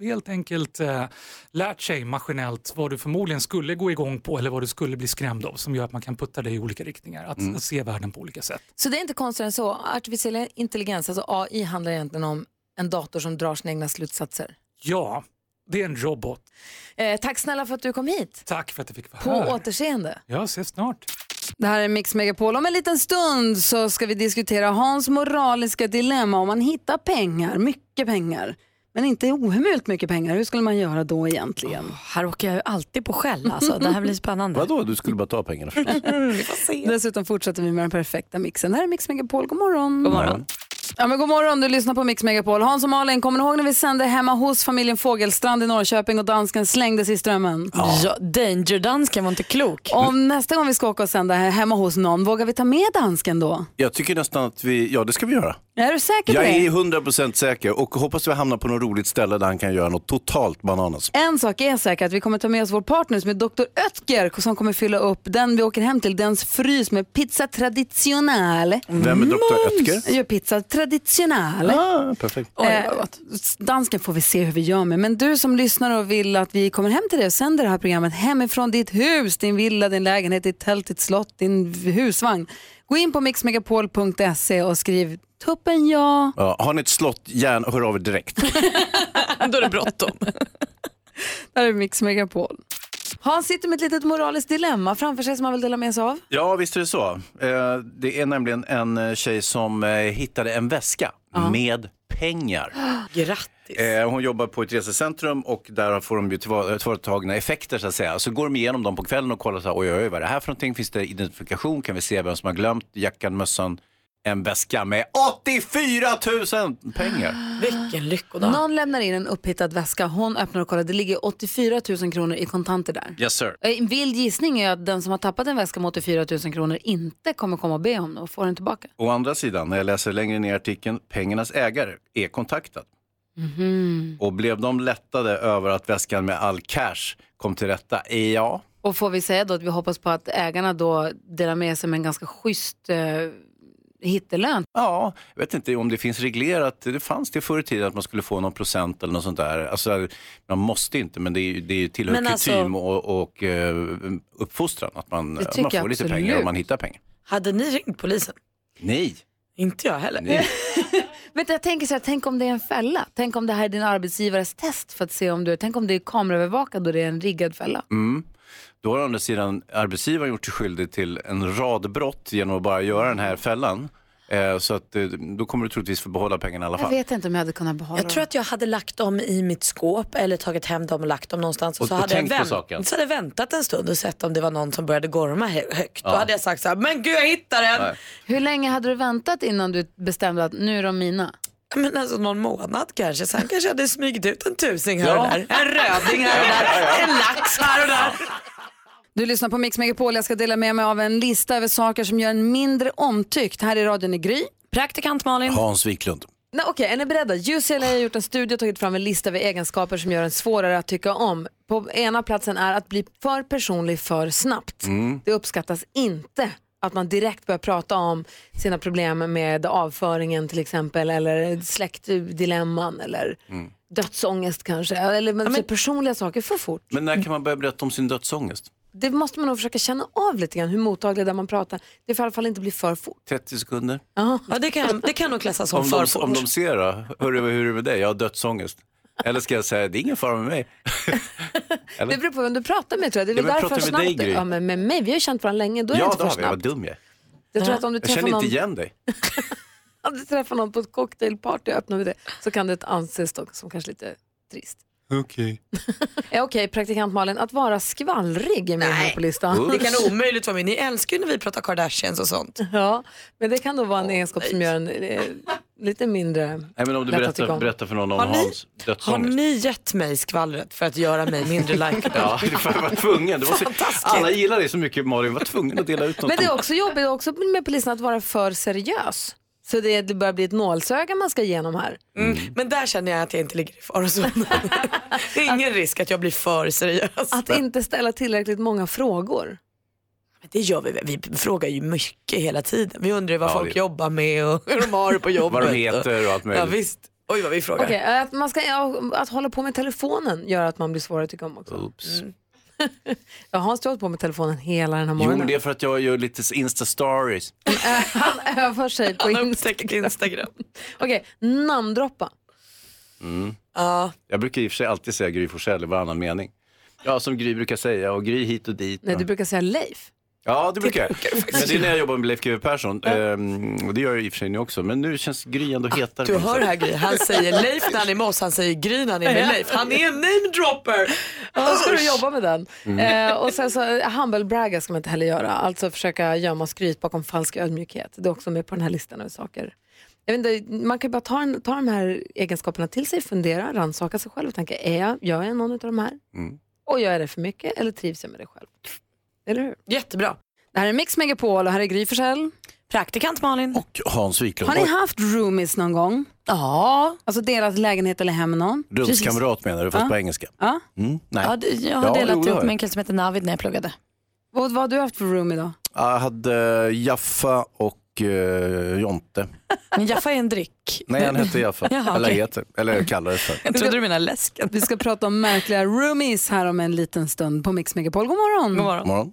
M: helt enkelt eh, lärt sig maskinellt vad du förmodligen skulle gå igång på eller vad du skulle bli skrämd av som gör att man kan putta dig i olika riktningar, att, att se världen på olika sätt.
A: Så det är inte konstigt än så. Artificiell intelligens, alltså AI, handlar egentligen om en dator som drar sina egna slutsatser.
M: Ja, det är en robot.
A: Eh, tack snälla för att du kom hit.
M: Tack för att jag fick vara
A: På
M: här.
A: återseende.
M: Jag ses snart.
A: Det här är Mix Megapol. Om en liten stund så ska vi diskutera Hans moraliska dilemma om man hittar pengar, mycket pengar, men inte ohemult mycket pengar. Hur skulle man göra då egentligen?
B: här åker jag ju alltid på skäll alltså. Det här blir spännande.
C: Vadå, du skulle bara ta pengarna?
B: Mm,
A: Dessutom fortsätter vi med den perfekta mixen. Det här är Mix Megapol. God morgon.
C: God morgon.
A: Ja, men god morgon, du lyssnar på Mix Megapol. Hans och Malin, kommer ni ihåg när vi sände hemma hos familjen Fågelstrand i Norrköping och dansken slängdes i strömmen?
B: Ja, Danger-dansken var inte klok.
A: Om nästa gång vi ska åka och sända här hemma hos någon, vågar vi ta med dansken då?
C: Jag tycker nästan att vi, ja det ska vi göra.
A: Är du säker på
C: Jag
A: det?
C: är 100% säker och hoppas vi hamnar på något roligt ställe där han kan göra något totalt bananas.
A: En sak är säker, att vi kommer ta med oss vår partner som är Dr. Ötker som kommer fylla upp den vi åker hem till, dens frys med pizza traditionale.
C: Vem är Dr. Oetker?
A: Jag gör pizza traditionale.
C: Ah, perfekt.
A: Eh, dansken får vi se hur vi gör med. Men du som lyssnar och vill att vi kommer hem till dig och sänder det här programmet hemifrån ditt hus, din villa, din lägenhet, ditt tält, ditt slott, din husvagn. Gå in på mixmegapol.se och skriv tuppen ja.
C: Ja, har ni ett slott, gärna hör av er direkt.
B: Då är det bråttom.
A: Där är Mix Megapol. Han sitter med ett litet moraliskt dilemma framför sig som han vill dela med sig av.
C: Ja, visst är det så. Eh, Det är nämligen en eh, tjej som eh, hittade en väska med pengar.
B: Grattis!
C: Eh, Hon jobbar på ett resecentrum och där får de ju tillva- tillvaratagna effekter så att säga. Så går de igenom dem på kvällen och kollar så här, oj, oj, oj, vad är det här för någonting? Finns det identifikation? Kan vi se vem som har glömt jackan, mössan? En väska med 84 000 pengar.
B: Vilken lyckodag.
A: Någon lämnar in en upphittad väska, hon öppnar och kollar, det ligger 84 000 kronor i kontanter där. Eh,
C: Yes sir.
A: En vild gissning är att den som har tappat en väska med 84 000 kronor inte kommer komma och be om det och få den tillbaka.
C: Å andra sidan, när jag läser längre ner i artikeln, pengarnas ägare är kontaktad.
B: Mhm.
C: Och blev de lättade över att väskan med all cash kom till rätta? Ja.
A: Och får vi säga då att vi hoppas på att ägarna då delar med sig med en ganska schysst eh, hittelön?
C: Ja. Jag vet inte om det finns reglerat. Det fanns det förr i tiden att man skulle få någon procent eller något sånt där. Alltså, man måste inte, men det, är, ju- det är ju tillhör
B: Men
C: kutym
B: alltså-
C: och, och eh, uppfostran. Att man,
B: Det
C: man
B: tycker
C: får
B: jag
C: lite
B: absolut.
C: pengar om man hittar pengar.
B: Hade ni ringt polisen?
C: Nej.
B: Inte jag heller.
C: Nej.
A: Men jag tänker så här, tänk om det är en fälla? Tänk om det här är din arbetsgivares test för att se om du, tänk om det är kameraövervakad och det är en riggad fälla?
C: Mm. Då har å andra sidan arbetsgivaren gjort sig skyldig till en rad brott genom att bara göra den här fällan. Eh, så att, eh, då kommer du troligtvis få behålla pengarna i alla
A: Jag
C: fall.
A: vet inte om jag hade kunnat behålla
B: Jag tror att jag hade lagt dem i mitt skåp eller tagit hem dem och lagt dem någonstans. Och,
C: Och-
B: så,
C: och
B: hade jag
C: tänkt på saken.
B: så hade jag väntat en stund och sett om det var någon som började gorma hö- högt.
C: Ja.
B: Då hade jag sagt så här, men gud jag hittade den!
A: Hur länge hade du väntat innan du bestämde att nu är de mina?
B: Men alltså någon månad kanske, sen kanske jag hade smugit ut en tusing här
A: Ja.
B: och där. En röding här och där, en lax här och där.
A: Du lyssnar på Mix Megapol. Jag ska dela med mig av en lista över saker som gör en mindre omtyckt. Här i radion i Gry.
B: Praktikant Malin.
C: Hans Wiklund.
A: Nej, Okej, är ni beredda? UCLA har gjort en studie och tagit fram en lista över egenskaper som gör en svårare att tycka om. På ena platsen är att bli för personlig för snabbt. Det uppskattas inte att man direkt börjar prata om sina problem med avföringen till exempel eller släktdilemman eller dödsångest kanske. Eller men, så personliga saker för fort.
C: Men när kan man börja berätta om sin dödsångest?
A: Det måste man nog försöka känna av lite grann hur mottaglig där man pratar. Det får i alla fall inte bli för fort.
C: 30 sekunder?
B: Ja, det kan, det kan nog klassas som
C: om,
B: för
C: de,
B: fort.
C: om de ser då, hur, är- hur är det med dig? Jag har dödsångest. Eller ska jag säga, det är ingen fara med mig.
A: Det beror på vem du pratar med tror jag. Det är
C: Ja,
A: väl
C: men
A: därför
C: pratar jag med
A: snabbt.
C: dig, Gry?
A: ja, men med mig, vi har ju känt varandra länge. Då är det
C: ja,
A: inte
C: det
A: för
C: har vi. Vad
A: snabbt.
C: dum jag är.
A: Jag tror att om du
C: Jag
A: träffar
C: känner
A: någon-
C: inte igen dig.
A: Om du träffar någon på ett cocktailparty och öppnar med det så kan det anses dock som kanske lite trist.
C: Okej.
A: Ja, Okej, praktikant Malin, att vara skvallrig är med här på listan.
B: Det kan omöjligt vara min. Ni älskar ju när vi pratar Kardashians och sånt.
A: Ja, men det kan då vara en egenskap som gör en eh, lite mindre
C: Nej, men om du
A: lätt att tycka
C: berättar,
A: om.
C: berättar för någon om
A: Har ni-
C: Hans
B: Har
C: dödsångest.
B: ni gett mig skvallret för att göra mig mindre likable?
C: Ja, för jag var tvungen. Det var så, alla gillar dig så mycket Malin, var tvungen att dela ut något.
A: Men det är också jobbigt, det är också med på listan att vara för seriös. Så det, det börjar bli ett nålsöga man ska igenom här.
B: Mm. Men där känner jag att jag inte ligger i farozonen. det är ingen risk att jag blir för seriös.
A: Att inte ställa tillräckligt många frågor.
B: Men Det gör vi väl. Vi frågar ju mycket hela tiden. Vi undrar ju vad
A: Ja,
B: folk
A: det-
B: jobbar med och hur de har det på jobbet.
C: Vad de heter och allt möjligt.
B: Ja, visst. Oj vad vi frågar.
A: Okej, att, man ska, ja, att hålla på med telefonen gör att man blir svårare att tycka om också.
C: Oops.
A: Mm. jag har stått på med telefonen hela den här
C: Jo, men
A: morgonen.
C: det är för att jag gör lite Insta-stories.
A: Han övar sig på
B: Instagram. Instagram.
A: Okej, namndroppa.
C: Mm.
B: Ja.
C: Jag brukar i och för sig alltid säga Gry Forssell i varannan mening. Ja, som Gry brukar säga och Gry hit och dit.
A: Nej, du brukar säga Leif.
C: Ja, det brukar jag. Men det är när jag jobbar med Leif GW Persson. Ehm, och det gör jag i och för sig nu också. Men nu känns Gry ändå hetare.
B: Du
C: på något
B: hör
C: sätt.
B: här Gry, han säger Leif när han är med oss, han säger Gry när han är med
A: Ja.
B: Leif. Han är en namedropper!
A: Då ska du jobba med den.
B: Mm.
A: Eh, och sen så, humble bragga ska man inte heller göra. Alltså försöka gömma skryt bakom falsk ödmjukhet. Det är också med på den här listan över saker. Jag vet inte, man kan ju bara ta, en, ta de här egenskaperna till sig, fundera, rannsaka sig själv och tänka, är jag, gör jag någon av de här?
C: Mm.
A: Och gör jag det för mycket eller trivs jag med det själv? Eller hur?
B: Jättebra.
A: Det här är Mix Megapol och här är Gry Forssell.
B: Praktikant Malin.
A: Och
C: Hans Wiklund.
A: har ni haft roomies någon gång?
B: Ja.
A: Alltså delat lägenhet eller hem med någon?
C: Rumskamrat menar du, fast
A: Ja.
C: på engelska?
A: Ja.
C: Mm, nej.
B: Ja, det- jag har
C: Ja, jo,
B: delat
C: det
B: ihop
C: har
B: med
C: jag.
B: en kille som heter Navid när jag pluggade.
A: Vad, vad har du haft för roomie då?
C: Jag hade eh, Jaffa och eh, Jonte.
B: Men Jaffa är en dryck.
C: Nej, han hette Jaffa.
A: Ja, okej.
C: Eller heter, eller kallades för.
B: Jag trodde du menade läsken.
A: Vi ska prata om märkliga roomies här om en liten stund på Mix Megapol. God morgon!
B: God morgon.
C: Morgon.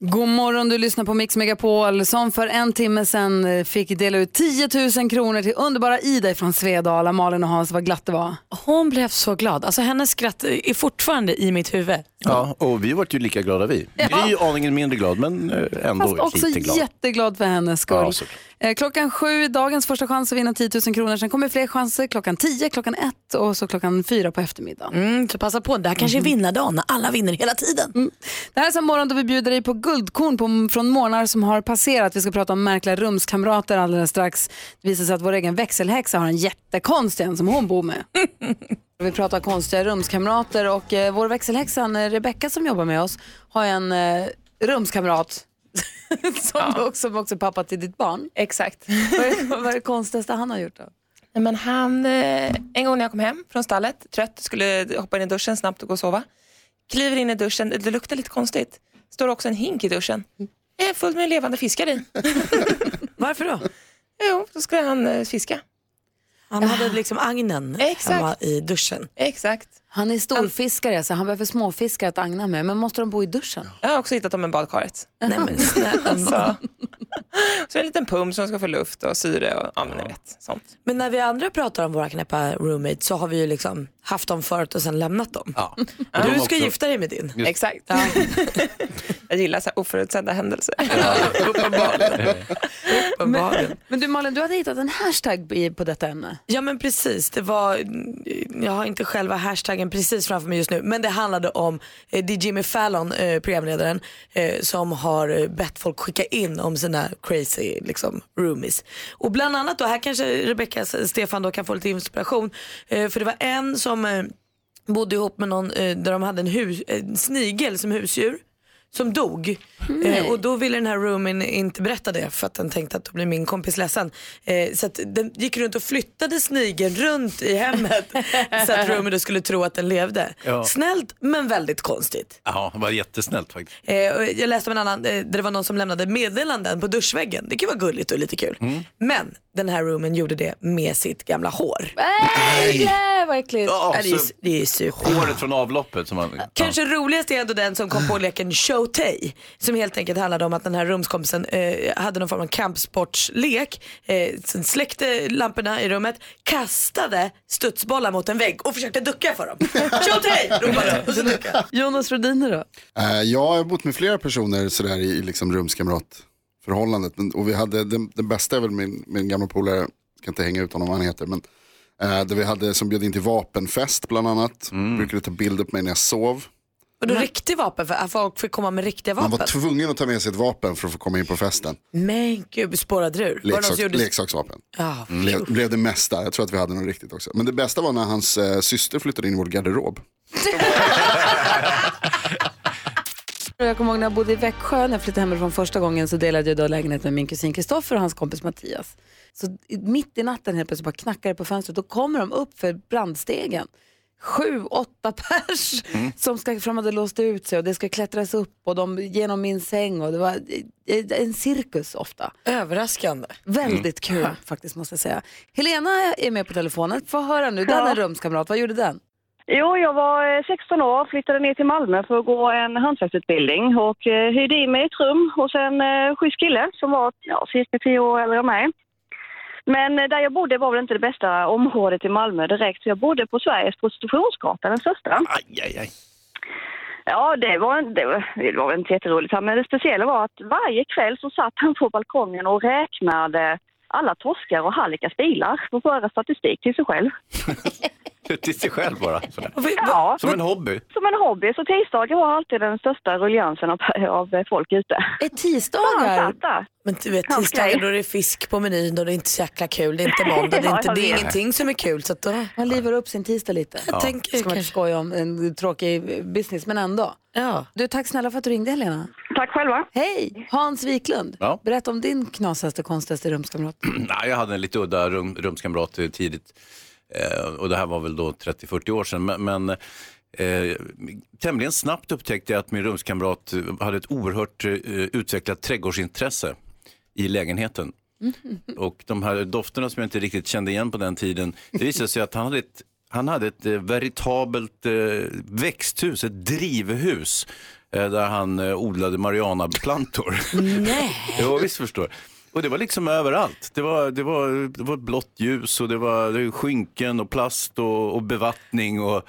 A: God morgon, du lyssnar på Mix Megapol som för en timme sedan eh, fick dela ut 10 000 kronor till underbara Ida från Svedala. Malin och Hans, vad glatt det var.
B: Hon blev så glad. Alltså hennes skratt är fortfarande i mitt huvud.
C: Ja, och vi var ju lika glada vi. Gry aningen mindre glad, men eh, ändå
A: Fast också
C: lite glad.
A: jätteglad för hennes skull.
C: Ja, såklart.
A: Eh, klockan sju, dagens första chans att vinna 10 000 kronor. Sen kommer fler chanser klockan 10, klockan 1 och så klockan 4 på eftermiddagen.
B: Mm, så passa på, det här
N: Mhm.
B: kanske är vinnardagen när alla vinner hela tiden.
N: Mm,
A: Det här är en morgon då vi bjuder dig på guldkorn på, från månader som har passerat. Vi ska prata om märkliga rumskamrater alldeles strax. Det visar sig att vår egen växelhäxa har en jättekonstig en som hon bor med. Vi pratar konstiga rumskamrater och eh, vår växelhäxa eh, Rebecka som jobbar med oss har en eh, rumskamrat som också, som också är pappa till ditt barn.
N: Exakt.
A: Vad är, vad är det konstigaste han har gjort då?
N: Nej, Men han, eh, en gång när jag kom hem från stallet, trött, skulle hoppa in i duschen snabbt och gå och sova. Kliver in i duschen, det luktar lite konstigt. Står också en hink i duschen. Det är fullt med levande fiskar i.
B: Varför då?
N: Jo, då skulle han eh, fiska.
B: Han hade liksom agnen hemma i duschen.
N: Exakt.
A: Han är storfiskare så han behöver småfiskare att agna med. Men måste de bo i duschen?
N: Jag har också hittat dem i badkaret.
A: Nej, men
N: alltså. Så en liten pump som ska få luft och syre och ja, men ni vet, sånt.
B: Men när vi andra pratar om våra knäppa roommates så har vi ju liksom haft dem förut och sen lämnat dem.
C: Ja.
N: de
B: Du ska
N: också-
B: gifta dig med din.
N: Exakt. jag gillar så här oförutsedda händelser.
A: Men, men du Malin, du hade hittat en hashtag i- på detta ämne.
B: Ja men precis, det var, jag har inte själva hashtaggen precis framför mig just nu, men det handlade om, eh, det är Jimmy Fallon, eh, programledaren, eh, som har eh, bett folk skicka in om sina crazy liksom, roomies. Och bland annat då, här kanske Rebecca Stefan då kan få lite inspiration, eh, för det var en som eh, bodde ihop med någon eh, där de hade en hus, en snigel som husdjur som dog.
A: Nej.
B: Eh, och då ville den här roomien inte berätta det för att den tänkte att då blir min kompis ledsen. Eh, så att den gick runt och flyttade snigeln runt i hemmet så att roomien då skulle tro att den levde.
C: Ja.
B: Snällt men väldigt konstigt.
C: Ja, det var jättesnällt faktiskt.
B: Eh, och jag läste om en annan eh, där det var någon som lämnade meddelanden på duschväggen. Det kan vara gulligt och lite kul. Men den här roomien gjorde det med sitt gamla hår.
A: Nej, nej, vad Äh, äckligt.
B: Ja, det är s- det är super.
C: Håret från avloppet som man...
B: Kanske roligast är ändå den som kom
A: Mm.
B: på leken Showtay. Som helt enkelt handlade om att den här rumskompisen eh, hade någon form av kampsportslek. Eh, sen släckte lamporna i rummet, kastade studsbollar mot en vägg och försökte ducka för dem. Showtay! ropade de. Och så duckade de.
A: Jonas Rodiner då?
E: Eh, jag har bott med flera personer sådär i liksom rumskamratförhållandet. Men- Och vi hade, den, den bästa är väl min, min gamla polare, ska inte hänga ut honom vad han heter, men eh, där vi hade som bjöd in till vapenfest bland annat. Brukade ta bilder på mig när jag sov.
B: Och då riktig vapen, för att folk fick komma med riktiga
E: Man
B: vapen.
E: var tvungen att ta med sig ett vapen för att få komma in på festen.
B: Men gud, spårade du ur? Var det någon som
E: Leksaks,
B: gjorde-
E: Leksaksvapen. Mm.
B: Ja,
E: Blev, blev det mesta, jag tror att vi hade något riktigt också. Men det bästa var när hans eh, syster flyttade in i vår garderob.
A: Jag kommer ihåg när jag bodde i Växjö, när jag flyttade hemifrån första gången så delade jag då lägenhet med min kusin Kristoffer och hans kompis Mattias. Så i- mitt i natten helt plötsligt bara knackar det på fönstret, då kommer de upp för brandstegen. Sju, åtta pers som ska, för de hade låst ut sig och det ska klättras upp och de genom min säng och det var eh, en cirkus ofta.
B: Överraskande.
A: Väldigt kul faktiskt måste jag säga. Helena är med på telefonen, få höra nu, den är rumskamrat, vad gjorde den?
J: Jo, jag var eh, 16 år och flyttade ner till Malmö för att gå en hantverksutbildning och eh, hyrde in mig i ett rum hos en eh, schysst kille som var ja, cirka 10 år äldre än mig. Men eh, där jag bodde var väl inte det bästa området i Malmö direkt så jag bodde på Sveriges prostitutionsgata, den största. Ja, det var, en- det var, det var väl inte jätteroligt. här, Men det speciella var att varje kväll så satt han på balkongen och räknade alla torskar och hallickars bilar för att föra statistik till sig själv.
C: Till sig själv bara. sådär.
J: Ja.
C: Som en hobby.
J: Som en hobby. Så tisdagar var alltid den största ruljansen av, av folk ute.
A: Är tisdagar?
B: Men du vet
J: Hans
B: tisdagar
J: grej.
B: då är det fisk på menyn och det är inte så jäkla kul. Det är inte måndag, det är,
A: Ja,
B: inte,
A: jag
B: det är
A: vet.
B: ingenting som är kul. Så att då...
A: Man livar upp sin tisdag lite.
B: Jag
A: Ska
B: tänker
A: man inte
B: kanske.
A: skoja om en tråkig business, men ändå.
B: Ja.
A: Du, tack snälla för att du ringde Helena.
J: Tack själva.
A: Hej, Hans Wiklund.
C: Ja.
A: Berätta om din knasigaste, konstigaste rumskamrat.
C: Nej, jag hade en lite udda rum, rumskamrat eh, tidigt. Eh, och det här var väl då 30-40 år sedan. Men, men eh, tämligen snabbt upptäckte jag att min rumskamrat eh, hade ett oerhört eh, utvecklat trädgårdsintresse i lägenheten. Och de här dofterna som jag inte riktigt kände igen på den tiden, det visade sig att han hade ett, han hade ett eh, veritabelt eh, växthus, ett drivhus, eh, där han eh, odlade marijuanaplantor.
A: Nej.
C: Jo, visst förstår. Och det var liksom överallt. Det var, det var, det var blått ljus och det var, det var skynken och plast och, och bevattning och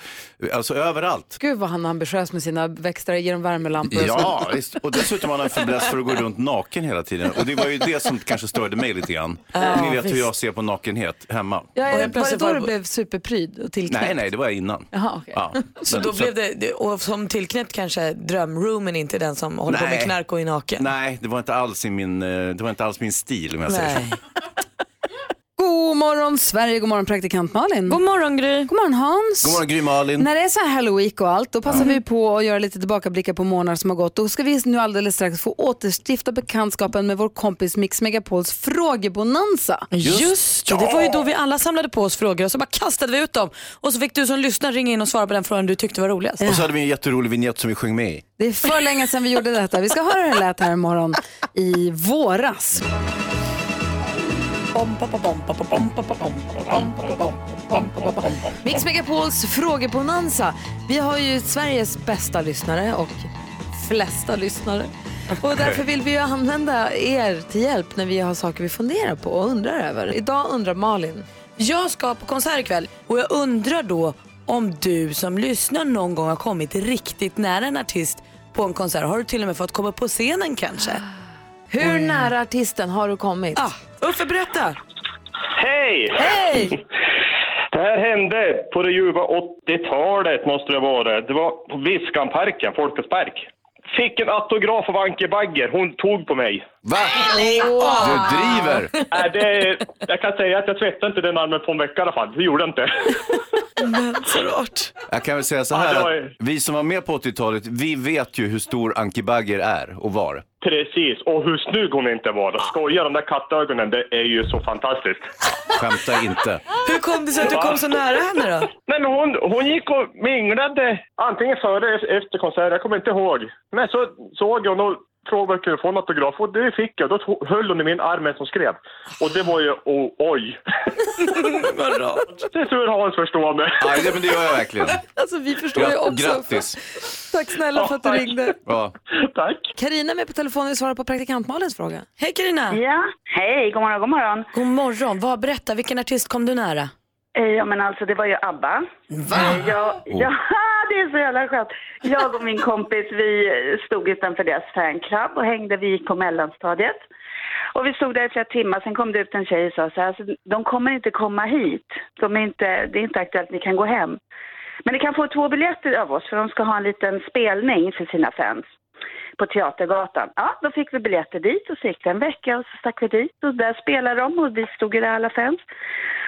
C: alltså överallt.
A: Gud vad han är ambitiös med sina växter, ger dem värmelampor och
C: Ja,
A: sånt.
C: visst. Och dessutom har han en fäbless för att gå runt naken hela tiden. Och det var ju det som kanske störde mig lite grann.
A: Ja,
C: Ni vet hur
A: visst.
C: jag ser på nakenhet hemma.
A: Ja,
B: Och
A: är det,
B: jag
A: var det
B: plötsligt
A: då
B: bara-
A: du blev superpryd och tillknäppt?
C: Nej, nej, det var jag innan.
A: Jaha, okej.
C: Ja.
B: Så
C: Men-
B: då blev det, det- och som tillknäppt kanske drömroomen inte den som håller på med
C: Nej.
B: knark och är naken.
C: Nej, det var inte alls, i min, eh, det var inte alls min stil om jag säger så.
B: Nej.
A: God morgon Sverige, god morgon praktikant Malin. God
B: morgon Gry.
A: God morgon Hans.
C: God morgon Gry Malin.
A: När det är så här Halloween och allt, då
C: Ja.
A: passar vi på att göra lite tillbakablickar på månader som har gått. Då ska vi nu alldeles strax få återstifta bekantskapen med vår kompis Mix Megapols frågebonanza.
B: Just, det, det var ju då vi alla samlade på oss frågor och så bara kastade vi ut dem. Och så fick du som lyssnar ringa in och svara på den frågan du tyckte var roligast.
C: Och så hade vi en jätterolig vignett som vi sjöng med i.
A: Det är för länge sedan vi gjorde detta. Vi ska höra hur det lät här imorgon i våras. Mix Megapols frågebonanza. Vi har ju Sveriges bästa lyssnare och flesta lyssnare. Och därför vill vi ju använda er till hjälp när vi har saker vi funderar på och undrar över. Idag undrar Malin.
B: Jag ska på konsert ikväll och jag undrar då om du som lyssnar någon gång har kommit riktigt nära en artist på en konsert. Har du till och med fått komma upp på scenen kanske?
A: Hur nära artisten har du kommit?
B: Uffe, berätta!
K: Hej!
A: Hej!
K: Det här hände på det ljuva 80-talet måste det vara. Det var på Viskanparken, Folkets park. Fick en autograf av Anke Bagger. Hon tog på mig.
C: Va?
K: Wow.
C: Du driver!
K: Nej, det, jag kan säga att jag tvättade inte den armen på en vecka i alla fall. Det gjorde jag inte.
B: Men så rart.
C: Jag kan väl säga så
K: Ja, det var
C: här,
K: ju-
C: att vi som var med på 80-talet, vi vet ju hur stor Anki Bagger är och var.
K: Precis, och hur snygg hon inte var. Skoja, de där kattögonen, det är ju så fantastiskt.
C: Skämta inte.
B: Hur kom det sig att du kom så nära henne då?
K: Nej, men hon, hon gick och minglade, antingen före eller efter konserten, jag kommer inte ihåg. Men så såg jag hon och frågade om jag kunde få en autograf och det fick jag. Då to- höll hon i min arm medan hon skrev. Och det var ju, oh, oj.
B: Vad rart.
K: Det är tur Hans förstår mig.
C: Nej, det- men det gör jag verkligen.
A: Alltså vi förstår ju
C: Gra-
A: också.
C: Grattis!
A: Tack snälla för att du ringde.
C: Ja.
K: Tack.
A: Karina är med på telefonen och svarar på praktikant Malins fråga.
B: Hej
J: Mm.
B: Karina.
O: Ja, hej, god morgon, god morgon.
B: God morgon. Vad, berätta, vilken artist kom du nära?
O: Eh, Ja, men alltså det var ju ABBA. Va? Jag, ja, det är så jävla skönt. Jag och min kompis, vi eh, stod utanför deras fanclub och hängde. Vi gick på mellanstadiet. Och vi stod där i flera timmar, sen kom det ut en tjej och sa så här, alltså, de kommer inte komma hit. De är inte, det är inte aktuellt, ni kan gå hem. Men ni kan få två biljetter av oss för de ska ha en liten spelning för sina fans på Teatergatan. Ja, då fick vi biljetter dit och så gick det en vecka och så stack vi dit och där spelade de och vi stod ju där alla fans.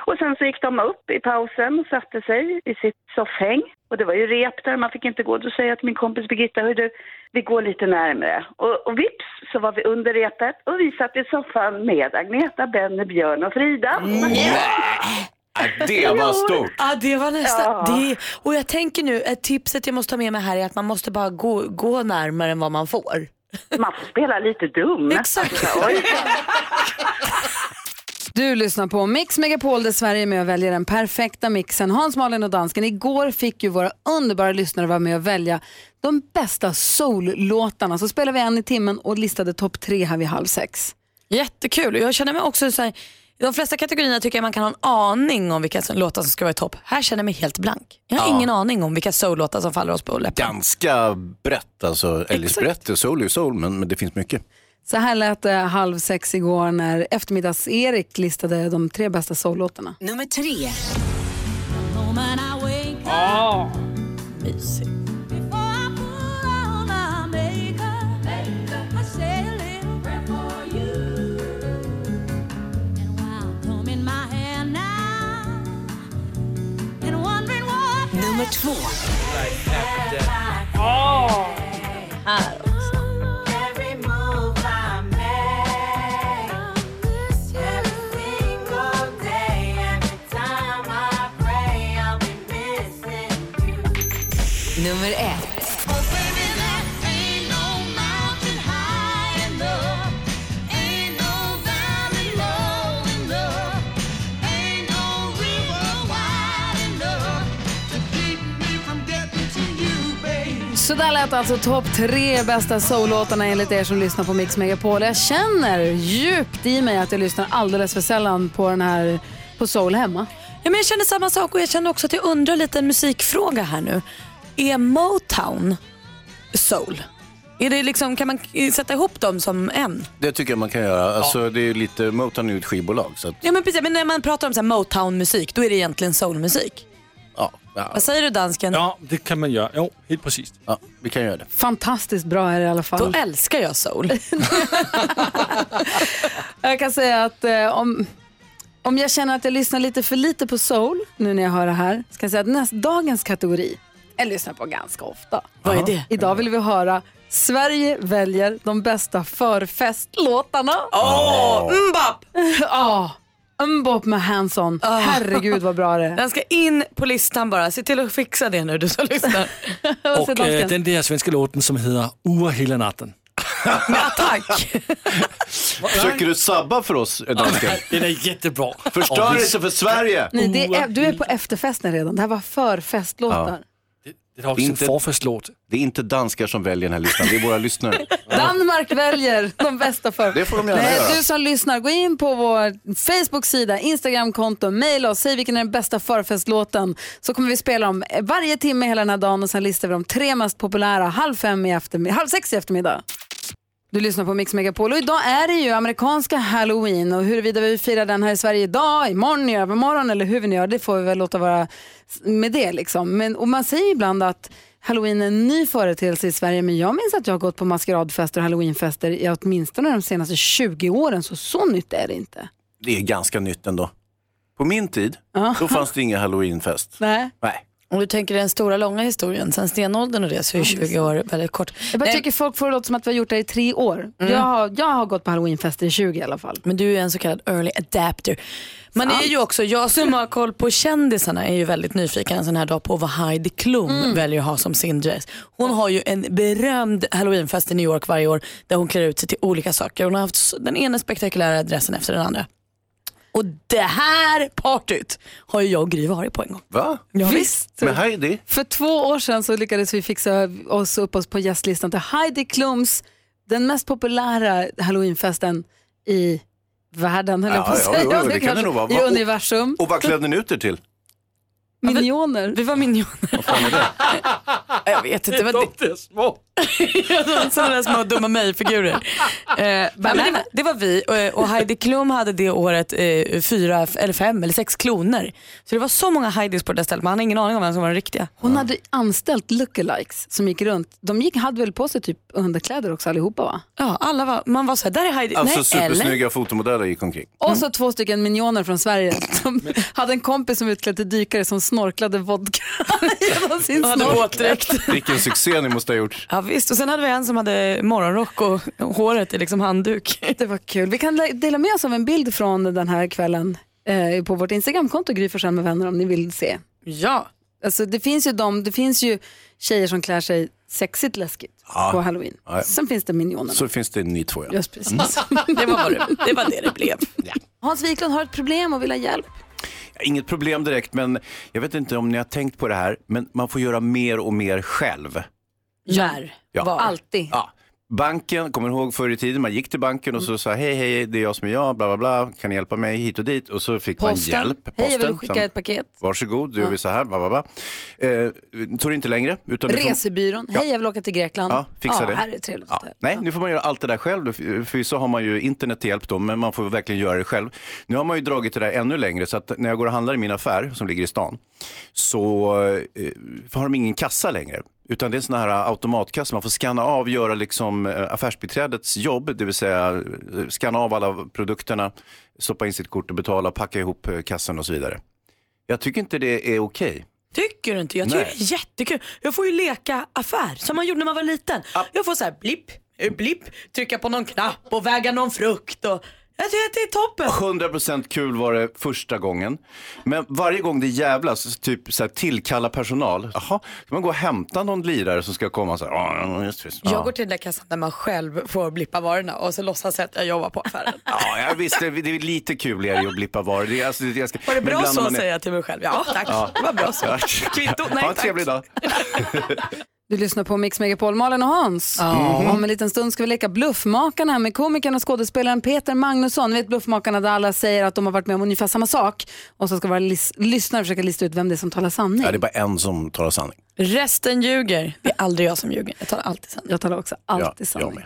O: Och sen så gick de upp i pausen och satte sig i sitt soffhäng. Och det var ju rep där, man fick inte gå. Då säger jag till min kompis Birgitta, hör du, vi går lite närmre. Och, och vips så var vi under repet och vi satt i soffan med Agneta, Benny, Björn och Frida.
C: Äh, Det var stort!
B: Ja, det var nästan.
O: Ja.
B: Det, och jag tänker nu, ett tipset jag måste ta med mig här är att man måste bara gå, gå närmare än vad man får.
O: Man får spela lite dum.
B: Exakt.
A: Du lyssnar på Mix Megapol där Sverige är med och väljer den perfekta mixen. Hans, Malin och dansken. Igår fick ju våra underbara lyssnare vara med och välja de bästa soul-låtarna. Så spelade vi en i timmen och listade topp tre här vid halv sex.
B: Jättekul. Och Jag känner mig också så här, i de flesta kategorierna tycker jag man kan ha en aning om vilka som- låtar som ska vara i topp. Här känner jag mig helt blank. Jag har
C: Ja.
B: ingen aning om vilka soul-låtar som faller oss på läppen.
C: Ganska brett alltså. Ellis brett, soul är ju soul, men, men det finns mycket.
A: Så här lät det halv sex igår när eftermiddags-Erik listade de tre bästa soul-låtarna.
H: Nummer tre.
D: Moment I
A: mysigt.
H: Nummer två.
D: Här
H: Nummer ett.
A: Så där lät alltså topp tre bästa soul-låtarna enligt er som lyssnar på Mix Megapol. Jag känner djupt i mig att jag lyssnar alldeles för sällan på den här på soul hemma.
B: Ja, men jag känner samma sak och jag känner också att jag undrar lite en musikfråga här nu. Är Motown soul? Är det liksom, kan man k- sätta ihop dem som en?
C: Det tycker jag man kan göra. Alltså, det är ju lite Motown är ju ett skivbolag. Så att,
B: Ja men precis, men när man pratar om så här Motown-musik då är det egentligen soulmusik.
C: ja,
B: Vad säger du dansken?
P: Ja, det kan man göra. Jo, helt precis.
C: Ja, vi kan göra det.
A: Fantastiskt bra är det i alla fall.
B: Då älskar jag soul.
A: Jag kan säga att eh, om, om jag känner att jag lyssnar lite för lite på soul nu när jag hör det här, ska jag säga att näst, dagens kategori, jag lyssnar på ganska ofta.
B: Vad är det?
A: Idag vill vi höra Sverige väljer de bästa förfestlåtarna.
B: Åh, Mbop!
A: Ja, Mbop med Hanson. Herregud vad bra det är.
B: Den ska in på listan bara. Se till att fixa det nu du som lyssnar.
P: Och eh, den där svenska låten som heter Ur hela natten.
B: Tack!
C: Försöker du sabba för oss eh, dansken?
P: Den är jättebra.
C: Förstörelse för Sverige!
A: Nej, det är, du är på efterfesten redan. Det här var förfestlåtar.
P: Det är också en förfestlåt.
C: Det är inte danskar som väljer den här listan, det är våra lyssnare.
A: Danmark väljer de bästa för.
C: Det får de gärna
A: Nej,
C: göra.
A: Du som lyssnar, gå in på vår Facebook-sida, Instagram-konto, mejla oss, säg vilken är den bästa förfestlåten. Så kommer vi spela dem varje timme hela den här dagen och sen listar vi de tre mest populära halv, fem i eftermiddag, halv sex i eftermiddag. Du lyssnar på Mix Megapol och idag är det ju amerikanska halloween och huruvida vi firar den här i Sverige idag, imorgon, i övermorgon eller hur vi nu gör det får vi väl låta vara med det liksom. Men, och man säger ibland att halloween är en ny företeelse i Sverige men jag minns att jag har gått på maskeradfester och halloweenfester i åtminstone de senaste 20 åren så så nytt är det inte.
C: Det är ganska nytt ändå. På min tid, då fanns det ingen halloweenfest.
A: Nej.
C: Nej.
B: Om du tänker den stora långa historien, sen stenåldern och det så är 20 år väldigt kort.
A: Jag bara
B: Nej.
A: tycker folk får det låta som att vi har gjort det i tre år.
B: Mm.
A: Jag, har, jag har gått på halloweenfester i 20 i alla fall.
B: Men du är en så kallad early adapter. Man är ju också, jag som har koll på kändisarna är ju väldigt nyfiken en sån här dag på vad Heidi Klum väljer att ha som sin dress. Hon har ju en berömd halloweenfest i New York varje år där hon klär ut sig till olika saker. Hon har haft s- den ena spektakulära dressen efter den andra. Och det här partyt har ju jag och Gry varit på en gång.
C: Va?
B: Ja,
A: visst.
C: Med Heidi?
A: För två år sedan så lyckades vi fixa oss upp oss på gästlistan till Heidi Klums, den mest populära halloweenfesten i världen, höll jag på att
C: Ja,
A: säga.
C: jo, jo, det kan
A: kanske-
C: det nog vara.
A: I
C: Va-
A: universum.
C: Och vad klädde ni ut er till?
A: Minioner.
B: Vi var minioner. Jag vet inte. Vad det...
P: är små.
B: Sådana där små dumma mig-figurer. Eh, men det, var, det var vi eh, och Heidi Klum hade det året eh, fyra f- eller fem eller sex kloner. Så det var så många Heidis på det där stället. Man hade ingen aning om vem som var den riktiga.
A: Hon hade anställt lookalikes som gick runt. De gick, hade väl på sig typ underkläder också allihopa va?
B: Ja, alla var, man var såhär, där är Heidi.
C: Alltså
B: Nej,
C: supersnygga
B: eller?
C: fotomodeller gick omkring.
A: Och så två stycken minioner från Sverige som hade en kompis som utklädd till dykare som snorklade vodka genom sin
B: Och hade
A: snorkel.
B: våtdräkt.
C: Vilken succé ni måste ha gjort.
B: Ja, visst, och sen hade vi en som hade morgonrock och håret i liksom handduk.
A: Det var kul. Vi kan lä- dela med oss av en bild från den här kvällen eh, på vårt Instagramkonto, Gry Forssell med vänner, om ni vill se.
B: Ja.
A: Alltså, det, finns ju de, det finns ju tjejer som klär sig sexigt läskigt
C: Ja.
A: på halloween.
C: Ja.
A: Sen finns det minionerna.
C: Så finns det ni två ja.
A: Just precis.
B: Det var vad det- det var det det blev.
A: Hans Wiklund har ett problem och vill ha hjälp.
C: Inget problem direkt, men jag vet inte om ni har tänkt på det här, men man får göra mer och mer själv.
B: När?
C: Ja.
A: Alltid.
C: Ja. Banken, kommer ihåg förr i tiden, man gick till banken och så sa hej, hej, det är jag som är jag, bla, bla, bla, kan ni hjälpa mig hit och dit? Och så fick man hjälp.
A: Hej, jag vill
C: Posten,
A: skicka
C: sam-
A: ett paket.
C: Varsågod, då gör
A: Ja.
C: vi så här, bla, bla, bla. Eh, tog det inte längre. Utan det får-
A: Resebyrån. Hej, jag vill åka till Grekland.
C: Ja, fixa
A: ja,
C: det.
A: Här är det trevligt.
C: Ja. Nej, nu får man göra allt det där själv. För så har man ju internet till hjälp då, men man får verkligen göra det själv. Nu har man ju dragit det där ännu längre, så att när jag går och handlar i min affär som ligger i stan så eh, har de ingen kassa längre. Utan det är en sån här automatkassa, man får scanna av, göra liksom eh, affärsbiträdets jobb, det vill säga eh, scanna av alla produkterna, stoppa in sitt kort och betala, packa ihop eh, kassen och så vidare. Jag tycker inte det är okej.
B: Tycker du inte? Jag tycker
C: Nej.
B: det är jättekul. Jag får ju leka affär som man gjorde när man var liten. Jag får så här blipp, eh, blipp, trycka på någon knapp och väga någon frukt. Och... Jag tycker att det är toppen.
C: 100% kul var det första gången. Men varje gång det jävlas, typ så här, tillkalla personal. Jaha, ska man gå och hämta någon lirare som ska komma så här. "Ja, just det,
B: Jag
C: Ja.
B: går till den där kassan där man själv får blippa varorna och så låtsas jag att jag jobbar på affären.
C: Ja, jag visste, det är lite kuligare att blippa varor. Det är, alltså, det- jag ska,
B: Var det
C: men
B: bra
C: ibland när
B: så
C: man är-
B: säger jag till mig själv. Ja tack, det var bra så.
C: Ja.
B: Kvitto, nej
C: Ha en
B: tack.
C: trevlig dag.
A: Du lyssnar på Mix Megapol, Malin och Hans. Mm-hmm.
C: Ja.
A: Om en liten stund ska vi leka Bluffmakarna med komikern och skådespelaren Peter Magnusson. Ni vet Bluffmakarna där alla säger att de har varit med om ungefär samma sak. Och så ska våra lis- lyssnare försöka lista ut vem det är som talar sanning.
C: Ja, det är bara en som talar sanning.
B: Resten ljuger. Det är aldrig jag som ljuger. Jag talar alltid sanning.
A: Jag talar också alltid sanning.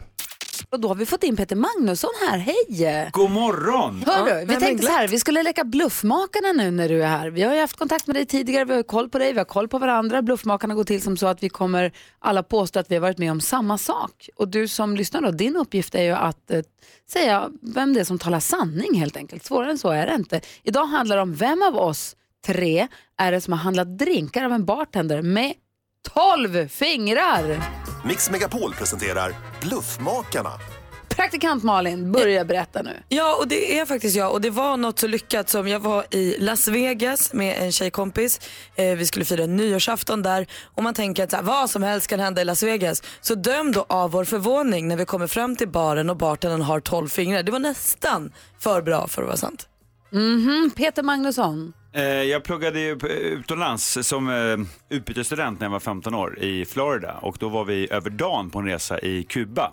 A: Och då har vi fått in Peter Magnusson här, hej!
Q: God morgon!
A: Hör du, vi tänkte så här, vi skulle leka Bluffmakarna nu när du är här. Vi har ju haft kontakt med dig tidigare, vi har ju koll på dig, vi har koll på varandra. Bluffmakarna går till som så att vi kommer alla påstå att vi har varit med om samma sak. Och du som lyssnar då, din uppgift är ju att eh, säga vem det är som talar sanning helt enkelt. Svårare än så är det inte. Idag handlar det om vem av oss tre är det som har handlat drinkar av en bartender med tolv fingrar.
I: Mix Megapol presenterar Bluffmakarna.
A: Praktikant Malin, börja berätta nu.
B: Ja, och det är faktiskt jag. Och det var något så lyckat som jag var i Las Vegas med en tjejkompis. Eh, vi skulle fira nyårsafton där. Och man tänker att så här, vad som helst kan hända i Las Vegas. Så döm då av vår förvåning när vi kommer fram till baren och bartendern har 12 fingrar. Det var nästan för bra för att vara sant.
A: Mhm, Peter Magnusson.
Q: Eh, Jag pluggade ju p- utomlands som eh, utbytesstudent när jag var 15 år i Florida och då var vi över dagen på en resa i Kuba.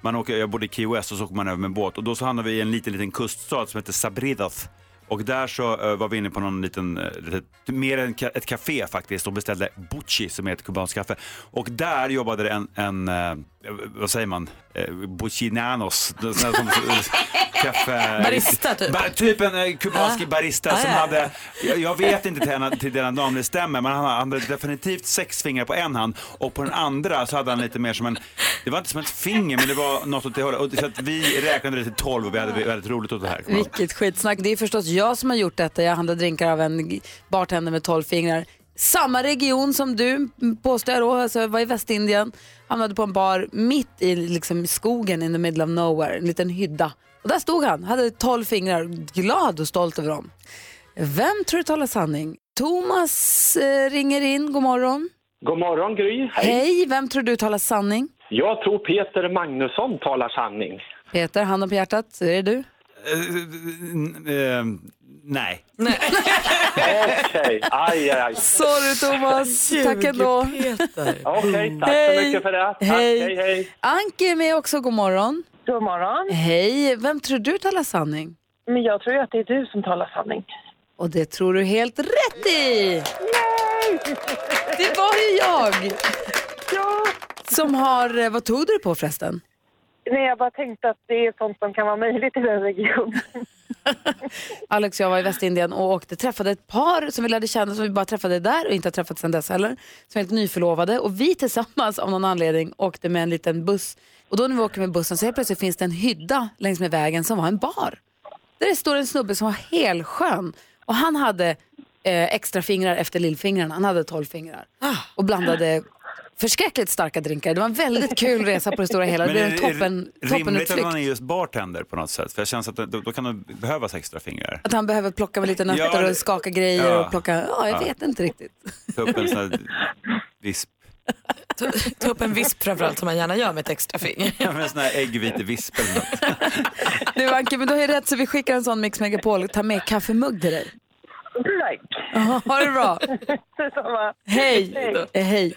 Q: Man åker, jag bodde i Key West och så åker man över med båt och då så hamnade vi i en liten, liten kuststad som heter Sabridoth. Och där så eh, var vi inne på någon liten, eh, litet, mer än ka- ett café faktiskt och beställde buchi som är ett kubanskt kaffe. Och där jobbade det en, en eh, vad säger man, eh, buchinanos, sån här som, kaffe...
B: Barista, typ.
Q: Ba, typ en eh, kubansk
B: Ah.
Q: barista
B: Ah,
Q: som
B: ja.
Q: hade, jag, jag vet inte till, henne, till denna namn det stämmer, men han hade- han hade definitivt sex fingrar på en hand och på den andra så hade han lite mer som en, det var inte som ett finger men det var något åt det hållet. Och Så att vi räknade det till tolv och vi hade väldigt roligt åt det här.
A: Vilket skitsnack. Det är förstås jag som har gjort detta. Jag handlar drinkar av en g- bartender med 12 fingrar. Samma region som du m, påstår jag då. Alltså jag var i Västindien, hamnade på en bar mitt i liksom, skogen in the middle of nowhere, en liten hydda. Och där stod han, hade 12 fingrar, glad och stolt över dem. Vem tror du talar sanning? Thomas eh, ringer in, god morgon.
R: God morgon Gry.
A: Hej. vem tror du talar sanning?
R: Jag tror Peter Magnusson talar sanning.
A: Peter, handen på hjärtat, är det du?
Q: Eh, eh, nej.
R: Okej, aj, aj, aj.
A: Sorry Thomas, tack ändå. Peter.
R: Okej, tack så
A: Hej.
R: mycket för det. Tack,
A: Hej.
R: hej, hej.
A: Anki är med också, god morgon.
S: God morgon.
A: Hej, vem tror du talar sanning?
S: Men jag tror ju att det är du som talar sanning.
A: Och det tror du helt rätt i! Det var ju jag!
S: Ja.
A: Som har, eh, vad tog du det på förresten?
S: Nej, jag bara tänkte att det är sånt som kan vara möjligt i den regionen.
A: Alex och jag var i Västindien och åkte, träffade ett par som vi lärde känna som vi bara träffade där och inte har träffat sedan dess heller. Som är helt nyförlovade och vi tillsammans av någon anledning åkte med en liten buss. Och då när vi åker med bussen så helt plötsligt finns det en hydda längs med vägen som var en bar. Där det står en snubbe som var helskön och han hade eh, extra fingrar efter lillfingrarna. Han hade tolv fingrar och blandade förskräckligt starka drinkar. Det var en väldigt kul resa på det stora hela. Det blev en toppen,
Q: är det rimligt att
A: toppenutflykt.
Q: man är just bartender på något sätt? För jag känns att det- då, då kan det behövas extra fingrar.
A: Att han behöver plocka med lite nötter
Q: Ja,
A: och skaka grejer
Q: ja.
A: och plocka, ja jag
Q: Ja.
A: vet inte riktigt.
Q: Ta upp en sån här visp,
B: Ta upp en visp framförallt som man gärna gör med ett extra finger.
Q: Ja, men en sån här äggvitevisp eller något.
A: Du Anke, men du har ju rätt så vi skickar en sån Mix Megapol, ta med kaffemugg till dig.
S: Tack.
A: Ha det bra.
S: Detsamma.
A: Hej. Eh, Hej.